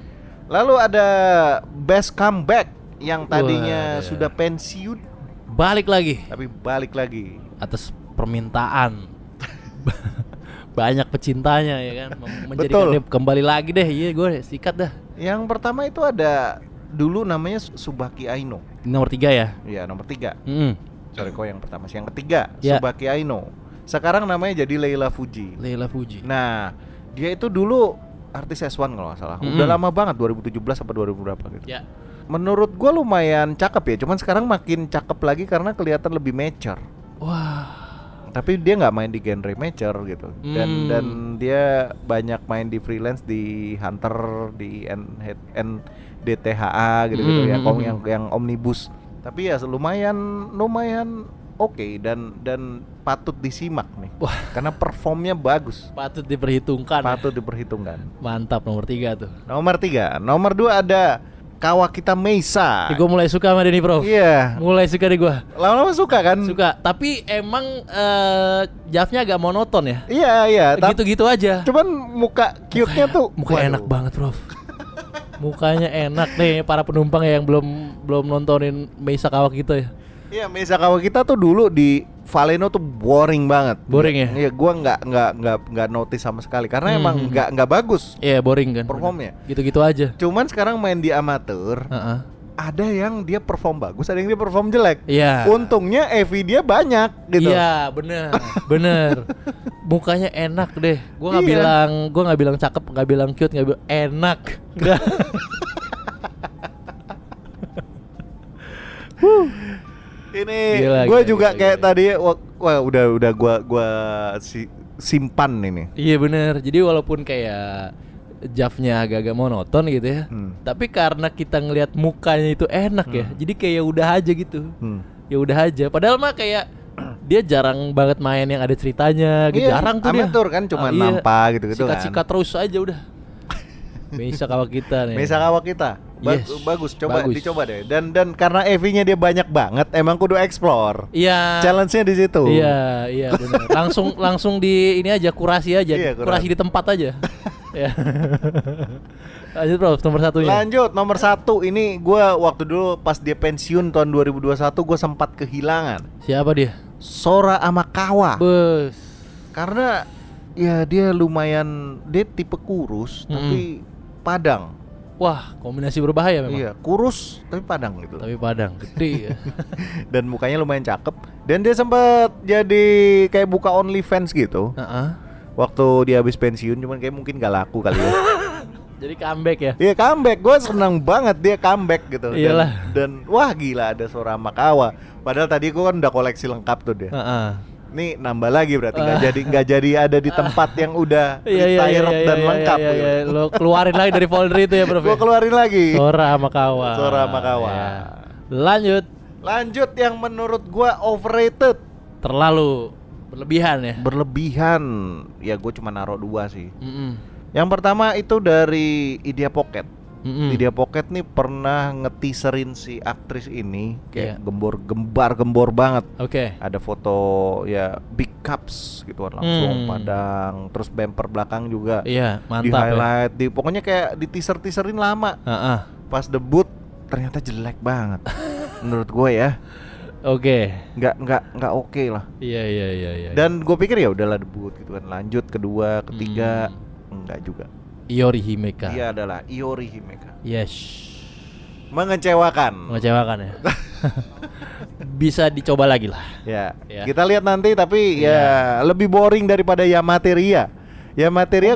Lalu ada best comeback yang tadinya
Waduh.
sudah pensiun
Balik lagi
tapi balik lagi.
atas permintaan banyak pecintanya ya kan mem- menjadikan
Betul.
dia kembali lagi deh iya gue sikat dah
Yang pertama itu ada dulu namanya Su- Subaki Aino.
Ini nomor tiga ya
Ya nomor tiga.
Mm-mm.
Sorry kok yang pertama sih. Yang ketiga
Ya.
Subaki Aino. Sekarang namanya jadi Leila Fuji.
Leila Fuji
Nah dia itu dulu artis S1 kalau nggak salah. Udah
Mm-mm.
lama banget 2017 apa 2000 berapa gitu.
ya
Menurut gua lumayan cakep ya. Cuman sekarang makin cakep lagi karena kelihatan lebih mature.
wah
tapi dia nggak main di genre major gitu dan
Hmm.
dan dia banyak main di freelance di Hunter di N, N DTHA gitu gitu
Hmm,
ya
hmm,
kom-
hmm.
yang yang omnibus tapi ya lumayan lumayan oke dan dan patut disimak nih
Wah. ya?
karena performnya bagus
Patut diperhitungkan.
patut diperhitungkan
Mantap nomor tiga tuh.
nomor tiga nomor dua ada Kawakita Meisa
Ih, Gua mulai suka sama Denny Prof.
iya
Mulai suka deh gua.
lama-lama suka kan
Suka. Tapi emang eh Jafnya agak monoton ya.
iya iya tapi
Gitu-gitu aja.
cuman muka cute-nya tuh
Muka
waduh.
enak banget, Prof. Mukanya enak nih para penumpang ya yang belum belum nontonin Meisa Kawak gitu ya.
Iya, Mesa kita tuh dulu di Valeno tuh boring banget.
Boring ya?
Iya, gua nggak nggak nggak nggak notice sama sekali karena
Hmm,
emang
hmm,
nggak nggak bagus
Iya, boring kan.
performnya.
Gitu-gitu aja.
Cuman sekarang main di amatir,
Heeh.
ada yang dia perform bagus, ada yang dia perform jelek.
Iya.
Untungnya EV dia banyak gitu.
Iya, bener, bener. Mukanya enak deh. Gua nggak
Iya.
bilang, gua nggak bilang cakep, nggak bilang cute, nggak bilang enak. Udah.
Ini
Gila,
gua
gila,
juga
gila,
kayak
gila.
tadi wak- wah udah udah gua gua si- simpan ini.
iya bener. Jadi walaupun kayak Jafnya agak-agak monoton gitu ya,
Hmm.
tapi karena kita ngelihat mukanya itu enak ya, jadi kayak udah aja gitu.
Hmm.
Ya udah aja. Padahal mah kayak dia jarang banget main yang ada ceritanya, gitu.
Iya,
jarang tuh dia. Ah, iya.
amatur kan, cuma nampak gitu-gitu kan.
Sikat-sikat terus aja udah. Bisa kalau kita nih.
Mesa Kawak kita
Iya.
Bag-
Yes.
bagus coba
Bagus.
dicoba deh. Dan dan karena EV-nya dia banyak banget, emang kudu explore.
Iya.
Challenge-nya di situ.
Iya, iya benar. Langsung langsung di ini aja kurasi aja,
Iya,
kurasi.
kurasi.
di tempat aja. ya. Lanjut Prof, nomor satunya.
Lanjut nomor satu ini gua waktu dulu pas dia pensiun tahun 2021 gue sempat kehilangan
Siapa dia?
Sora Amakawa
Bus.
karena ya dia lumayan dia tipe kurus
Mm-mm.
tapi padang
Wah, kombinasi berbahaya memang.
iya kurus tapi padang gitu loh.
Tapi Padang gede ya.
dan mukanya lumayan cakep dan dia sempat jadi kayak buka OnlyFans gitu
Heeh.
waktu dia habis pensiun cuman kayak mungkin gak laku kali ya
Jadi comeback ya.
Iya comeback, gue seneng banget dia comeback gitu. Dan-
Iyalah.
Dan, wah gila ada Sora Makawa. Padahal tadi gue kan udah koleksi lengkap tuh dia.
Heeh.
Nih nambah lagi berarti nggak jadi nggak jadi ada di tempat yang udah
Iya iya iya
retired
iya,
dan
iya,
lengkap.
iya, iya. Lo keluarin lagi dari folder itu ya, Prof. ya?
Gue keluarin lagi.
Sora Makawa.
Sora Makawa.
Iya. Lanjut.
Lanjut yang menurut gue overrated,
Terlalu berlebihan ya.
berlebihan. Ya gue cuma naruh dua sih.
Mm-mm.
Yang pertama itu dari Idea Pocket.
Mm-mm.
Lydia Pocket nih pernah ngeteaserin si aktris ini
Iya.
kayak gembor gembar gembor banget.
Oke.
Ada foto ya big cups gitu kan langsung
Hmm.
padang, terus bumper belakang juga
Iya, mantap.
di
ya.
highlight, di pokoknya kayak di teaser teaserin lama.
Heeh.
Pas debut ternyata jelek banget. Menurut gue ya
Oke.
nggak nggak nggak oke lah.
Iya iya iya iya.
Dan gue pikir ya udahlah debut gitu kan. Lanjut kedua, ketiga
Hmm.
enggak juga.
Iori Himeka.
Dia adalah Iori Himeka.
Yes.
Mengecewakan.
Mengecewakan ya. Bisa dicoba lagi lah.
Ya,
Ya.
kita lihat nanti tapi ya lebih boring daripada Yamateria. Yamateria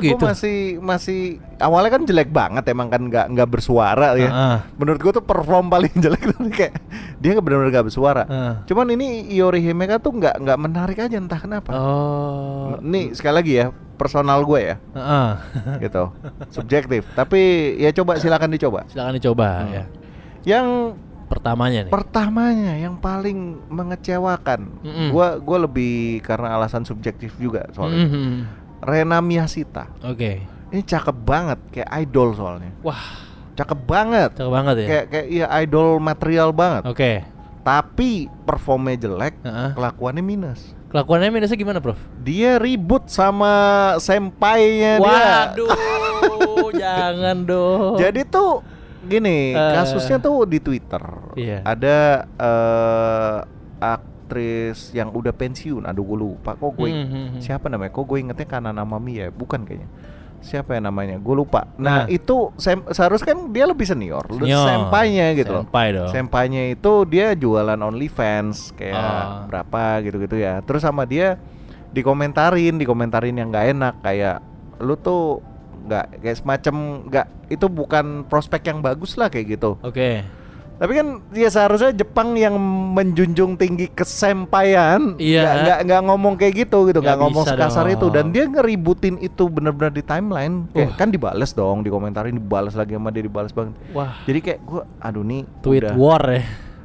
Oh, gitu.
gua masih masih awalnya kan jelek banget emang kan nggak nggak bersuara ya.
Heeh.
Menurut gua tuh perform paling jelek tuh kayak dia benar-benar nggak bersuara.
Heeh.
Cuman ini Iori Himeka tuh nggak nggak menarik aja entah kenapa.
Oh.
Nih sekali lagi ya personal gue ya
Heeh.
gitu subjektif tapi ya coba silakan dicoba.
Silakan dicoba
Mm.
ya.
Yang
Pertamanya nih.
Pertamanya yang paling mengecewakan,
Mm-mm.
gua gua lebih karena alasan subjektif juga soalnya.
Mhm.
Rena Miyashita,
Oke.
ini cakep banget kayak idol soalnya,
Wah,
cakep banget,
cakep banget ya.
kayak kayak iya idol material banget.
Oke.
Tapi performnya jelek,
Heeh.
kelakuannya minus.
Kelakuannya minusnya gimana, Prof?
Dia ribut sama senpainya Ya, dia.
Waduh, jangan dong.
Jadi tuh gini,
Eh.
kasusnya tuh di Twitter.
Iya.
Ada eh, aktris yang udah pensiun. Aduh gue lupa kok gue
Hmm, hmm, hmm.
siapa namanya? Kok gue ingetnya karena nama Mia, bukan kayaknya. Siapa ya namanya? Gue lupa.
Nah.
Nah, itu sem seharusnya kan dia lebih senior, lebih
Senior.
sempainya gitu loh.
Senpai dong.
Sempainya itu dia jualan OnlyFans kayak
Ah.
berapa gitu-gitu ya. Terus sama dia dikomentarin, dikomentarin yang nggak enak kayak lu tuh nggak kayak semacam nggak itu bukan prospek yang bagus lah kayak gitu.
Oke.
Tapi kan ya seharusnya Jepang yang menjunjung tinggi kesampaian
Iya.
nggak- nggak nggak ngomong kayak gitu gitu, nggak
Nggak
ngomong
bisa
sekasar
dong.
itu dan dia ngeributin itu bener-bener di timeline. Kayak,
Wah.
kan dibales dong, dikomentarin, dibales lagi sama dia dibales banget.
Wah,
Jadi kayak gua aduh nih
tweet
udah.
war ya.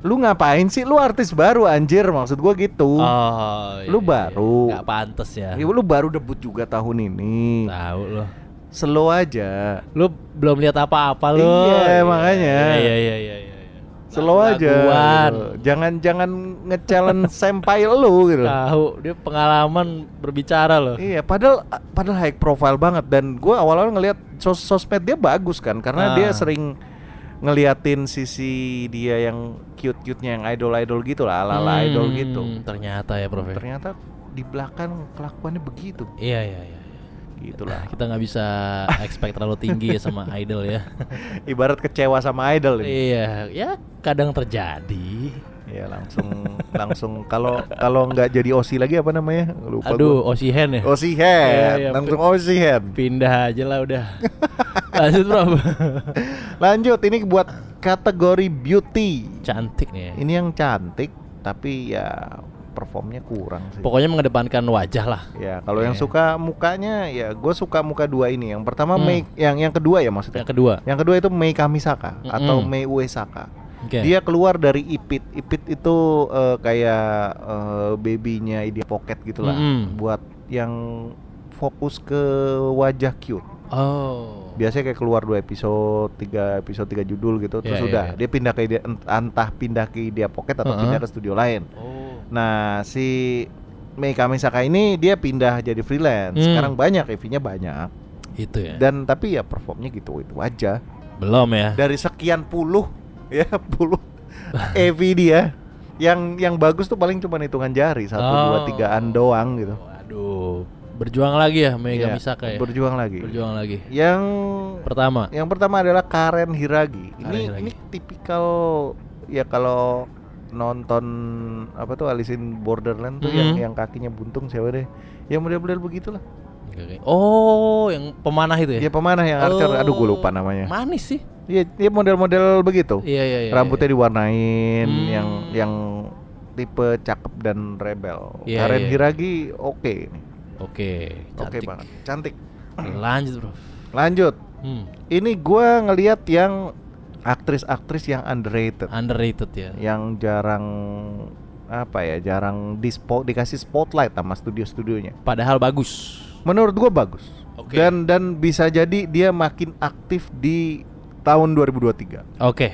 Lu ngapain sih? Lu artis baru anjir maksud gua gitu.
Oh,
Lu baru.
Gak pantas ya.
Ya, lu baru debut juga tahun ini.
Tahu lo.
Slow aja.
Lu belum lihat apa-apa lu.
Iya, makanya.
Iya, iya, iya, iya. iya.
Slow aja.
Lagu-laguan.
gitu. Jangan jangan nge-challenge senpai lu gitu.
Tahu, dia pengalaman berbicara loh.
Iya, padahal padahal high profile banget dan gue awal-awal ngelihat sos sosmed dia bagus kan karena
Ah.
dia sering ngeliatin sisi dia yang cute-cute-nya yang idol-idol gitu lah, ala-ala idol
Hmm,
gitu.
Ternyata ya, Prof. ya.
Ternyata di belakang kelakuannya begitu. Gitu
Iya, iya, iya. iya.
Gitulah.
Kita nggak bisa expect terlalu tinggi ya sama idol ya.
Ibarat kecewa sama idol ini.
iya, ya kadang terjadi.
Ya langsung langsung kalau kalau nggak jadi OSI lagi apa namanya? Lupa
Aduh, Osihen ya.
gua. OSI
Iya,
head,
iya.
langsung OSI head.
Pindah aja lah udah. Lanjut, Prof.
Lanjut ini buat kategori beauty.
Cantik nih. ya.
Ini yang cantik tapi ya performnya kurang sih.
Pokoknya mengedepankan wajah lah.
ya kalau yang
Iya.
suka mukanya ya gue suka muka dua ini. Yang pertama
Hmm.
Mei, yang yang kedua ya maksudnya.
Yang kedua.
Yang kedua itu Mei Kamisaka
Mm-mm.
atau Mei Uesaka.
Oke.
Dia keluar dari Ipit. Ipit itu eh, kayak eh, babynya Idea Pocket gitulah.
Mm-mm.
Buat yang fokus ke wajah cute.
Oh.
Biasanya kayak keluar dua episode, tiga episode, tiga judul gitu.
Iya,
Terus
iya,
udah
iya.
dia pindah ke Idea- ent- entah pindah ke Idea Pocket atau
Uh-uh.
pindah ke studio lain.
Oh.
Nah, si Mei Kamisaka ini dia pindah jadi freelance.
Hmm.
Sekarang banyak EV-nya banyak.
Itu ya.
Dan tapi ya performnya gitu-gitu aja.
Belum ya.
Dari sekian puluh ya puluh EV dia yang yang bagus tuh paling cuma hitungan jari satu
Oh.
dua tigaan doang gitu.
Waduh. Berjuang lagi ya Mega
Iya,
Misaka ya.
Berjuang Iya. lagi.
Berjuang lagi.
Yang
Pertama.
yang pertama adalah Karen Hiragi. Ini
Karen Hiragi.
ini tipikal ya kalau nonton apa tuh Alisin Borderland tuh yang
Mhm.
yang kakinya buntung siapa deh. Yang model-model begitulah.
Oke, oke. Oh, yang pemanah itu ya.
Dia pemanah yang archer. Aduh gue lupa
Oh,
namanya.
Manis sih.
Iya, dia model-model begitu.
Iya, iya, iya.
Rambutnya diwarnain
Hmm.
yang yang tipe cakep dan rebel.
Iya,
Karen
iya.
Hiragi oke nih.
Oke,
Oke
cantik.
banget. Cantik.
Lanjut, Bro.
Lanjut.
Hmm,
Ini gua ngelihat yang aktris-aktris yang underrated.
underrated ya.
yang jarang apa ya jarang di spo- dikasih spotlight sama studio-studionya.
Padahal bagus.
Menurut gua bagus.
Oke.
Dan dan bisa jadi dia makin aktif di tahun 2023.
Oke,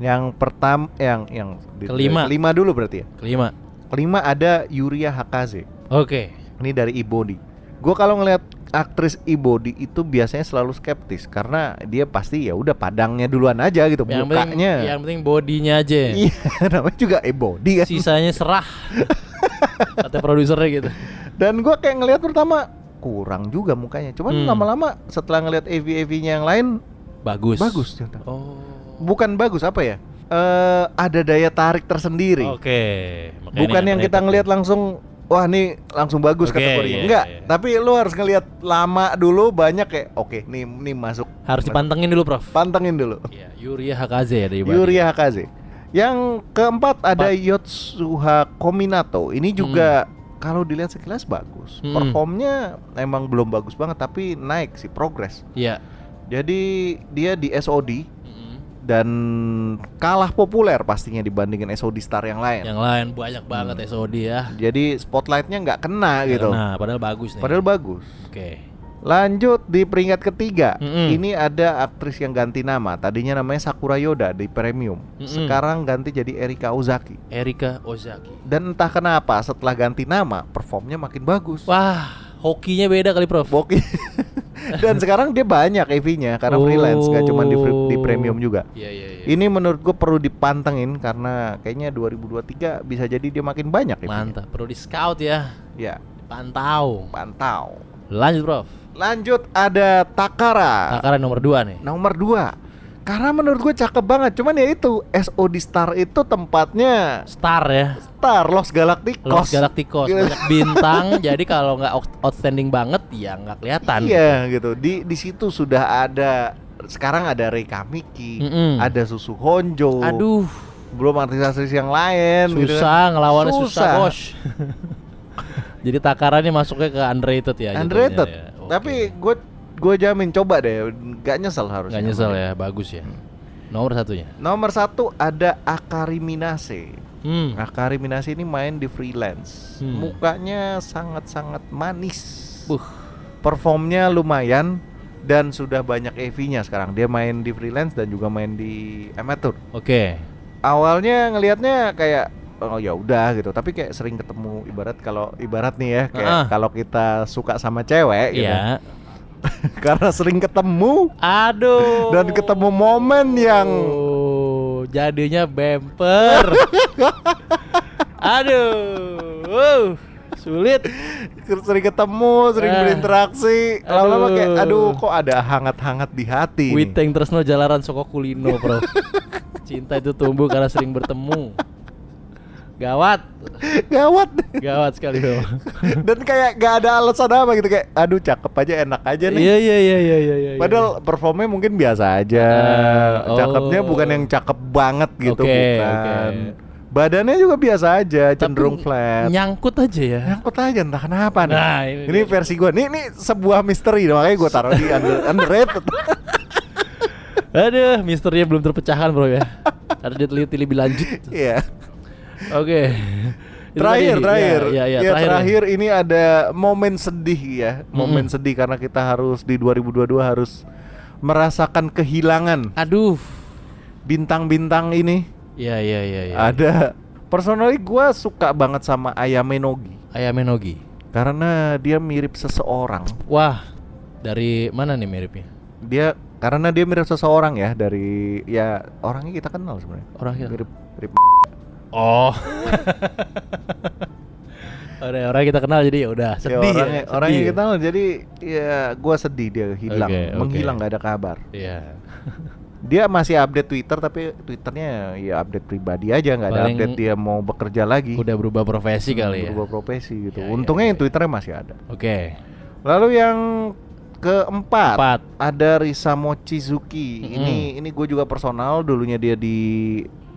Yang pertama yang yang di-
Kelima.
kelima dulu berarti ya.
kelima.
Kelima ada Yuria Hakaze.
Oke.
Ini dari Ibody. Gua kalau ngelihat aktris Ibody itu biasanya selalu skeptis karena dia pasti ya udah padangnya duluan aja gitu
Yang penting
mukanya.
yang penting bodinya aja.
Iya, namanya juga Ibody kan.
Sisanya serah. Kata produsernya gitu.
Dan gua kayak ngelihat pertama kurang juga mukanya. Cuman
Hmm.
lama-lama setelah ngelihat AV-AV-nya yang lain
Bagus.
bagus ternyata.
Oh.
Bukan bagus apa ya? Eh ada daya tarik tersendiri.
Oke. makanya
Bukan
ini
yang kita
underrated.
ngelihat langsung wah nih langsung bagus
Oke,
kategorinya.
iya,
Enggak,
iya.
tapi lu harus ngelihat lama dulu banyak kayak oke nih nih masuk.
Harus dipantengin dulu, Prof.
Pantengin dulu.
Iya, Yuria Hakaze ya dari Bali.
Yuria Hakaze. Yang keempat ada Yotsuha Kominato. Ini juga kalau dilihat sekilas bagus.
Hmm.
Performnya emang belum bagus banget tapi naik sih progres.
Iya.
Jadi dia di SOD
Mm-mm.
dan kalah populer pastinya dibandingin SOD star yang lain.
Yang lain banyak banget SOD ya.
Jadi spotlightnya nggak kena Hmm. gitu.
Nah, padahal bagus nih.
Padahal bagus.
Oke.
Lanjut di peringkat ketiga,
Mm-mm.
ini ada aktris yang ganti nama. Tadinya namanya Sakura Yoda di Premium.
Mm-mm.
Sekarang ganti jadi Erika Ozaki.
Erika Ozaki.
Dan entah kenapa setelah ganti nama performnya makin bagus.
Wah, hokinya beda kali, Prof.
Boki. Dan sekarang dia banyak EV-nya karena freelance, nggak cuma di, fre- di premium juga.
Iya, iya, iya.
Ini menurut gue perlu dipantengin karena kayaknya 2023 bisa jadi dia makin banyak EV-nya.
Mantap, perlu di scout ya.
Ya,
Pantau.
pantau.
Lanjut, Prof.
Lanjut ada Takara.
Takaran nomor 2 nih.
Nomor 2. Karena menurut gue cakep banget, cuman ya itu SOD Star itu tempatnya
Star ya.
Star Los Galacticos.
Los Galacticos
Gila.
banyak bintang. jadi kalau nggak out- outstanding banget ya nggak kelihatan.
Iya gitu. Di di situ sudah ada sekarang ada Rei Kamiki,
Mm-mm.
ada Susu Honjo.
Aduh,
Belum artis-artis yang lain gitu kan.
susah ngelawannya susah, Oh,
Susah.
bos. Jadi takarannya masuknya ke underrated ya.
Underrated.
jatuhnya ya. Oke.
Tapi gue gue jamin coba deh, gak nyesel harusnya.
nggak nyesel ya, bagus ya. Nomor satunya.
Nomor satu ada Akari Minase.
Hmm.
Akari Minase Nah, ini main di freelance.
Hmm.
Mukanya sangat-sangat manis.
Buh.
Performnya lumayan dan sudah banyak EV-nya sekarang. Dia main di freelance dan juga main di amateur.
Oke.
Awalnya ngelihatnya kayak oh ya udah gitu, tapi kayak sering ketemu ibarat kalau ibarat nih ya kayak
Ah.
kalau kita suka sama cewek gitu.
Iya.
Karena sering ketemu
Aduh.
dan ketemu momen yang
Oh, jadinya bemper. Aduh. Wow, sulit.
sering ketemu, sering
Ah.
berinteraksi, lama-lama kayak
Aduh.
aduh kok ada hangat-hangat di hati. nih."
Witeng Tresno Jalaran Soko Kulino, Bro. Cinta itu tumbuh karena sering bertemu. Gawat,
Gawat.
gawat sekali Bro.
Dan kayak gak ada alasan apa gitu kayak aduh cakep aja enak aja nih.
Iya iya iya iya iya. iya.
Padahal performnya mungkin biasa aja.
Ah, oh.
Cakepnya bukan yang cakep banget gitu
Oke,
bukan.
oke.
Badannya juga biasa aja,
Tapi
cenderung flat.
Nyangkut aja ya.
Nyangkut aja entah kenapa nih.
Nah, ini
ini,
dia.
versi gua. Nih nih sebuah misteri makanya gua taruh di under, underrated.
Aduh, misterinya belum terpecahkan Bro ya. Harus diteliti lebih lanjut.
Iya.
Oke. Itu
Terakhir,
tadi.
terakhir.
Ya, ya, ya,
Ya,
terakhir.
terakhir ini ada momen sedih ya. Momen sedih karena kita harus di 2022 harus merasakan kehilangan
Aduh.
bintang-bintang ini.
Iya iya iya iya.
Ada personally gua suka banget sama Ayame Nogi
Ayam Enogi.
karena dia mirip seseorang.
Wah, dari mana nih miripnya?
Dia karena dia mirip seseorang ya dari ya orangnya kita kenal sebenarnya.
Orang kita-
mirip mirip
Oh. Ada orang kita kenal jadi ya udah sedih
ya, orangnya,
ya.
orangnya
sedih
kita kenal jadi ya gua sedih dia hilang,
Oke, oke.
menghilang nggak ada kabar.
Iya.
Dia masih update Twitter tapi Twitternya ya update pribadi aja nggak ada
Paling
update dia mau bekerja lagi.
Udah berubah profesi kali ya.
Hmm, berubah profesi gitu.
Ya, ya,
Untungnya
ya,
yang Twitternya masih ada.
Oke.
Lalu yang keempat
Empat.
ada Risamo Chizuki.
Mm-mm.
Ini ini gue juga personal dulunya dia di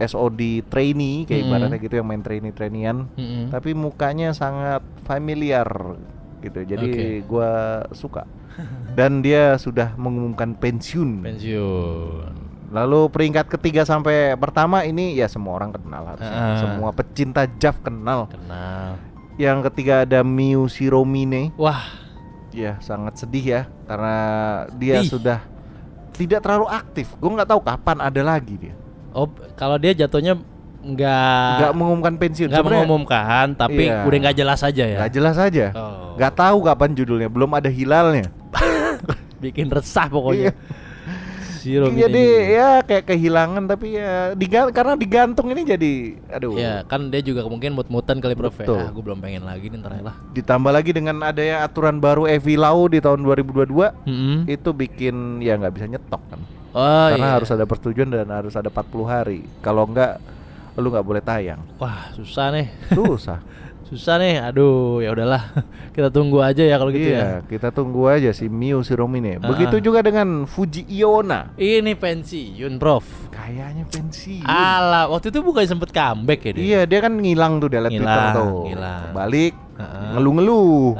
SOD trainee kayak
Mm-mm.
ibaratnya gitu yang main trainee trainian.
Mm-mm.
Tapi mukanya sangat familiar gitu. Jadi gua suka. Dan dia sudah mengumumkan pensiun.
Pensiun.
Lalu peringkat ketiga sampai pertama ini ya semua orang kenal harusnya.
Ah.
Semua pecinta Jav kenal.
Kenal.
Yang ketiga ada Miu Shiromine.
Wah,
Ya sangat sedih ya karena dia
Sedih.
sudah tidak terlalu aktif. Gue nggak tahu kapan ada lagi dia.
oh kalau dia jatuhnya
Nggak
nggak
mengumumkan pensiun.
Ah. nggak
Sebenarnya
mengumumkan, tapi
Iya.
udah nggak jelas aja ya.
nggak jelas aja.
Oh.
Nggak tahu kapan judulnya. Belum ada hilalnya.
Bikin resah pokoknya.
Iya.
Zero
jadi
minute.
ya kayak kehilangan tapi ya digan- karena digantung ini jadi aduh.
Ya kan dia juga mungkin mut-mutan kali Prof.
Betul.
Ah, gue belum pengen lagi nih ntar lah.
Ditambah lagi dengan adanya aturan baru Evi Lau di tahun 2022
Mm-mm.
itu bikin ya nggak bisa nyetok kan.
Hmm. Oh,
karena
iya.
harus ada persetujuan dan harus ada 40 hari. Kalau nggak lu nggak boleh tayang.
Wah susah nih,
Susah.
susah nih. Aduh ya udahlah, kita tunggu aja ya kalau gitu ya.
iya, kita tunggu aja si Mio Siromine.
Ah.
Begitu juga dengan Fuji Iona.
Ini pensiun Prof.
Kayaknya pensiun.
Ala waktu itu bukan sempet comeback ya dia.
Iya, dia kan ngilang tuh dalam Twitter
Ngilang,
tuh.
ngilang.
Balik
Ah.
ngeluh-ngeluh.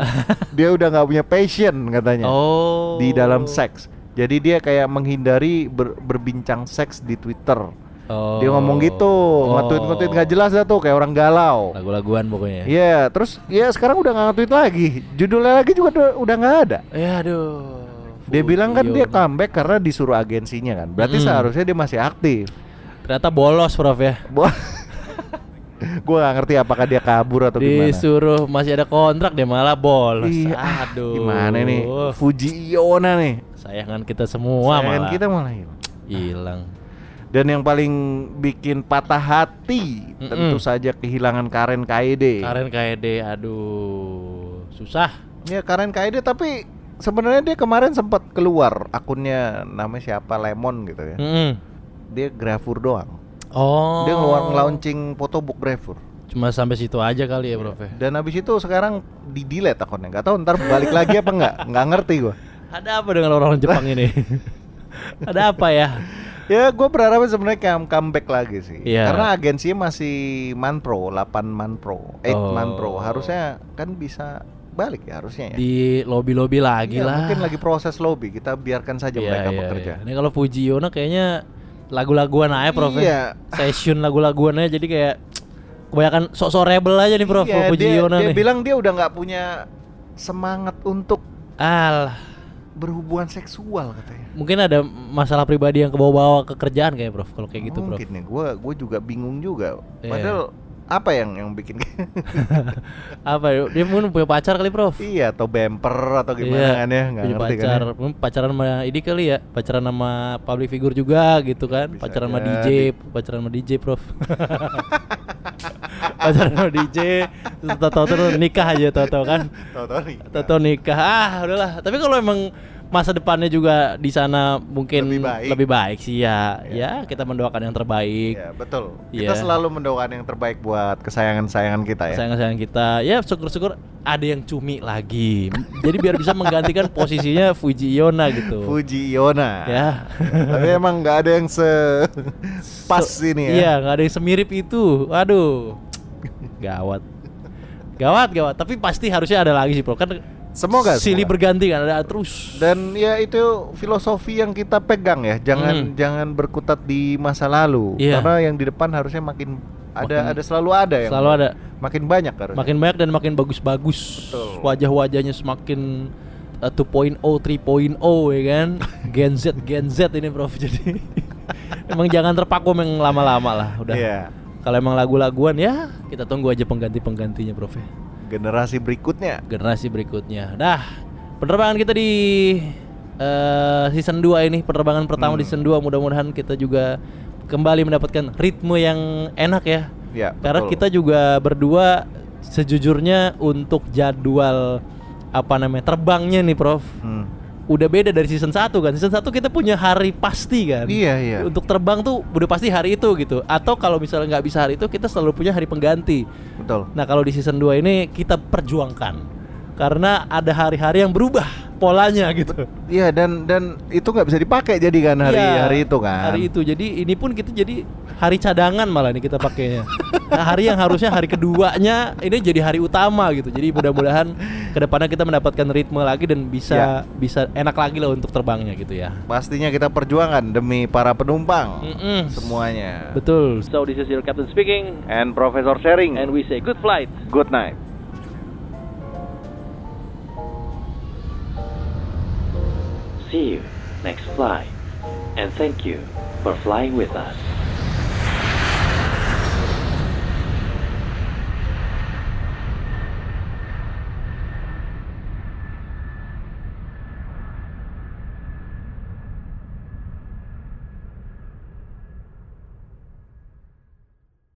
dia udah nggak punya passion katanya
Oh.
Iya. di dalam seks. Jadi dia kayak menghindari ber- berbincang seks di Twitter.
Oh.
Dia ngomong gitu, nge-tweet-nge-tweet nggak jelas dah tuh kayak orang galau.
Lagu-laguan pokoknya.
Iya, terus ya sekarang udah nggak nge-tweet lagi. Judulnya lagi juga udah- udah nggak ada.
Ya aduh.
Dia
Fuji
bilang kan dia
Iona.
comeback karena disuruh agensinya kan. Berarti
Mm-mm.
seharusnya dia masih aktif.
Ternyata bolos Prof ya.
Bo- gua nggak ngerti apakah dia kabur atau gimana.
Disuruh masih ada kontrak dia malah bolos.
Iya, ah,
Aduh.
Gimana nih? Fuji Iona nih.
Sayangan kita semua
Sayangan
malah.
kita malah hilang.
hilang.
Dan yang paling bikin patah hati
Mm-mm.
tentu saja kehilangan Karen Kaede.
Karen KD aduh. Susah.
Ya Karen Kaede tapi sebenarnya dia kemarin sempat keluar akunnya namanya siapa Lemon gitu ya.
Mm-mm.
Dia grafur doang.
Oh.
Dia ngeluar nge-launching photobook grafur.
Cuma sampai situ aja kali ya, Prof. ya?
Dan habis itu sekarang di delete akunnya. Gak tahu ntar balik lagi apa enggak. Nggak ngerti gua.
Ada apa dengan orang-orang Jepang ini? Ada apa ya?
Ya, gue berharap sebenarnya come comeback lagi sih.
Iya.
Karena agensinya masih Manpro, 8 Manpro, 8
Oh.
Manpro. Harusnya kan bisa balik ya harusnya ya.
Di lobby-lobby lagi
Ya,
lah.
Mungkin lagi proses lobby, kita biarkan saja
Iya,
mereka
iya,
bekerja.
iya. Ini kalau Fujiono kayaknya lagu-laguan aja Prof. ya.
Iya.
Session lagu-laguan aja jadi kayak kebanyakan sok-sok rebel aja nih Prof.
Iya, dia,
Fujiono
dia
nih.
bilang dia udah nggak punya semangat untuk
Alah,
berhubungan seksual katanya.
mungkin ada masalah pribadi yang kebawa-bawa ke kerjaan kayak Prof. Kalau kayak gitu Prof.
Mungkin nih, gue gue juga bingung juga.
Iya.
Padahal apa yang yang bikin
Apa ya? Dia mungkin punya pacar kali Prof.
iya atau bemper atau gimana kan ya nggak
punya
ngerti
Iya. pacar.
kan ya.
Mungkin pacaran sama ini kali ya, pacaran sama public figure juga gitu kan.
Bisa
pacaran sama DJ,
jadi.
pacaran sama DJ, Prof. pacaran sama DJ, terus tahu-tahu terus nikah aja tahu-tahu kan.
Tahu-tahu nih.
Tahu-tahu nikah. Ah, udahlah. Tapi kalau emang masa depannya juga di sana mungkin
Lebih baik.
sih ya. Ya, kita mendoakan yang terbaik.
Iya, betul. Kita
Iya.
selalu mendoakan yang terbaik buat kesayangan-sayangan kita ya.
sayang-sayang kita ya syukur-syukur ada yang cumi lagi jadi biar bisa menggantikan posisinya Fuji Yona gitu
Fuji Yona.
ya
Tapi emang nggak ada yang se pas ini ya.
iya nggak ada yang semirip itu aduh gawat gawat gawat tapi pasti harusnya ada lagi sih bro kan
Semoga,
silih
semoga.
berganti kan ada terus
Dan ya itu filosofi yang kita pegang ya.
Mm.
Jangan jangan berkutat di masa lalu.
Iya.
Karena yang di depan harusnya makin ada
Makin-
ada selalu ada yang
selalu ada
makin banyak harusnya.
makin banyak dan makin bagus-bagus
Betul.
wajah-wajahnya semakin uh, 2.0 3.0 ya kan Gen Z Gen Z ini Prof jadi emang jangan terpaku yang lama-lama lah udah
Iya.
kalau emang lagu-laguan ya kita tunggu aja pengganti-penggantinya Prof ya
Generasi berikutnya.
generasi berikutnya. Nah, penerbangan kita di eh, season 2 ini, penerbangan pertama di season 2 mudah-mudahan kita juga kembali mendapatkan ritme yang enak ya.
Ya,
Karena
betul.
kita juga berdua sejujurnya untuk jadwal apa namanya terbangnya nih Prof.
Hmm.
Udah beda dari season 1 kan. Season 1 kita punya hari pasti kan.
Iya, iya.
Untuk terbang tuh udah pasti hari itu gitu. Atau kalau misalnya nggak bisa hari itu kita selalu punya hari pengganti.
Betul.
Nah kalau di season 2 ini kita perjuangkan karena ada hari-hari yang berubah polanya gitu.
Iya dan dan itu nggak bisa dipakai jadi kan hari
Iya,
hari itu kan.
Hari itu. Jadi ini pun kita jadi hari cadangan malah nih kita pakainya. Nah, hari yang harusnya hari keduanya ini jadi hari utama gitu. Jadi mudah-mudahan kedepannya kita mendapatkan ritme lagi dan bisa
Iya.
bisa enak lagi lah untuk terbangnya gitu ya.
Pastinya kita perjuangan demi para penumpang
Mm-mm.
semuanya.
Betul. Hmm.
So this is your captain speaking,
And Professor Sharing.
and we say good flight.
good night.
See you next flight, and thank you for flying with us.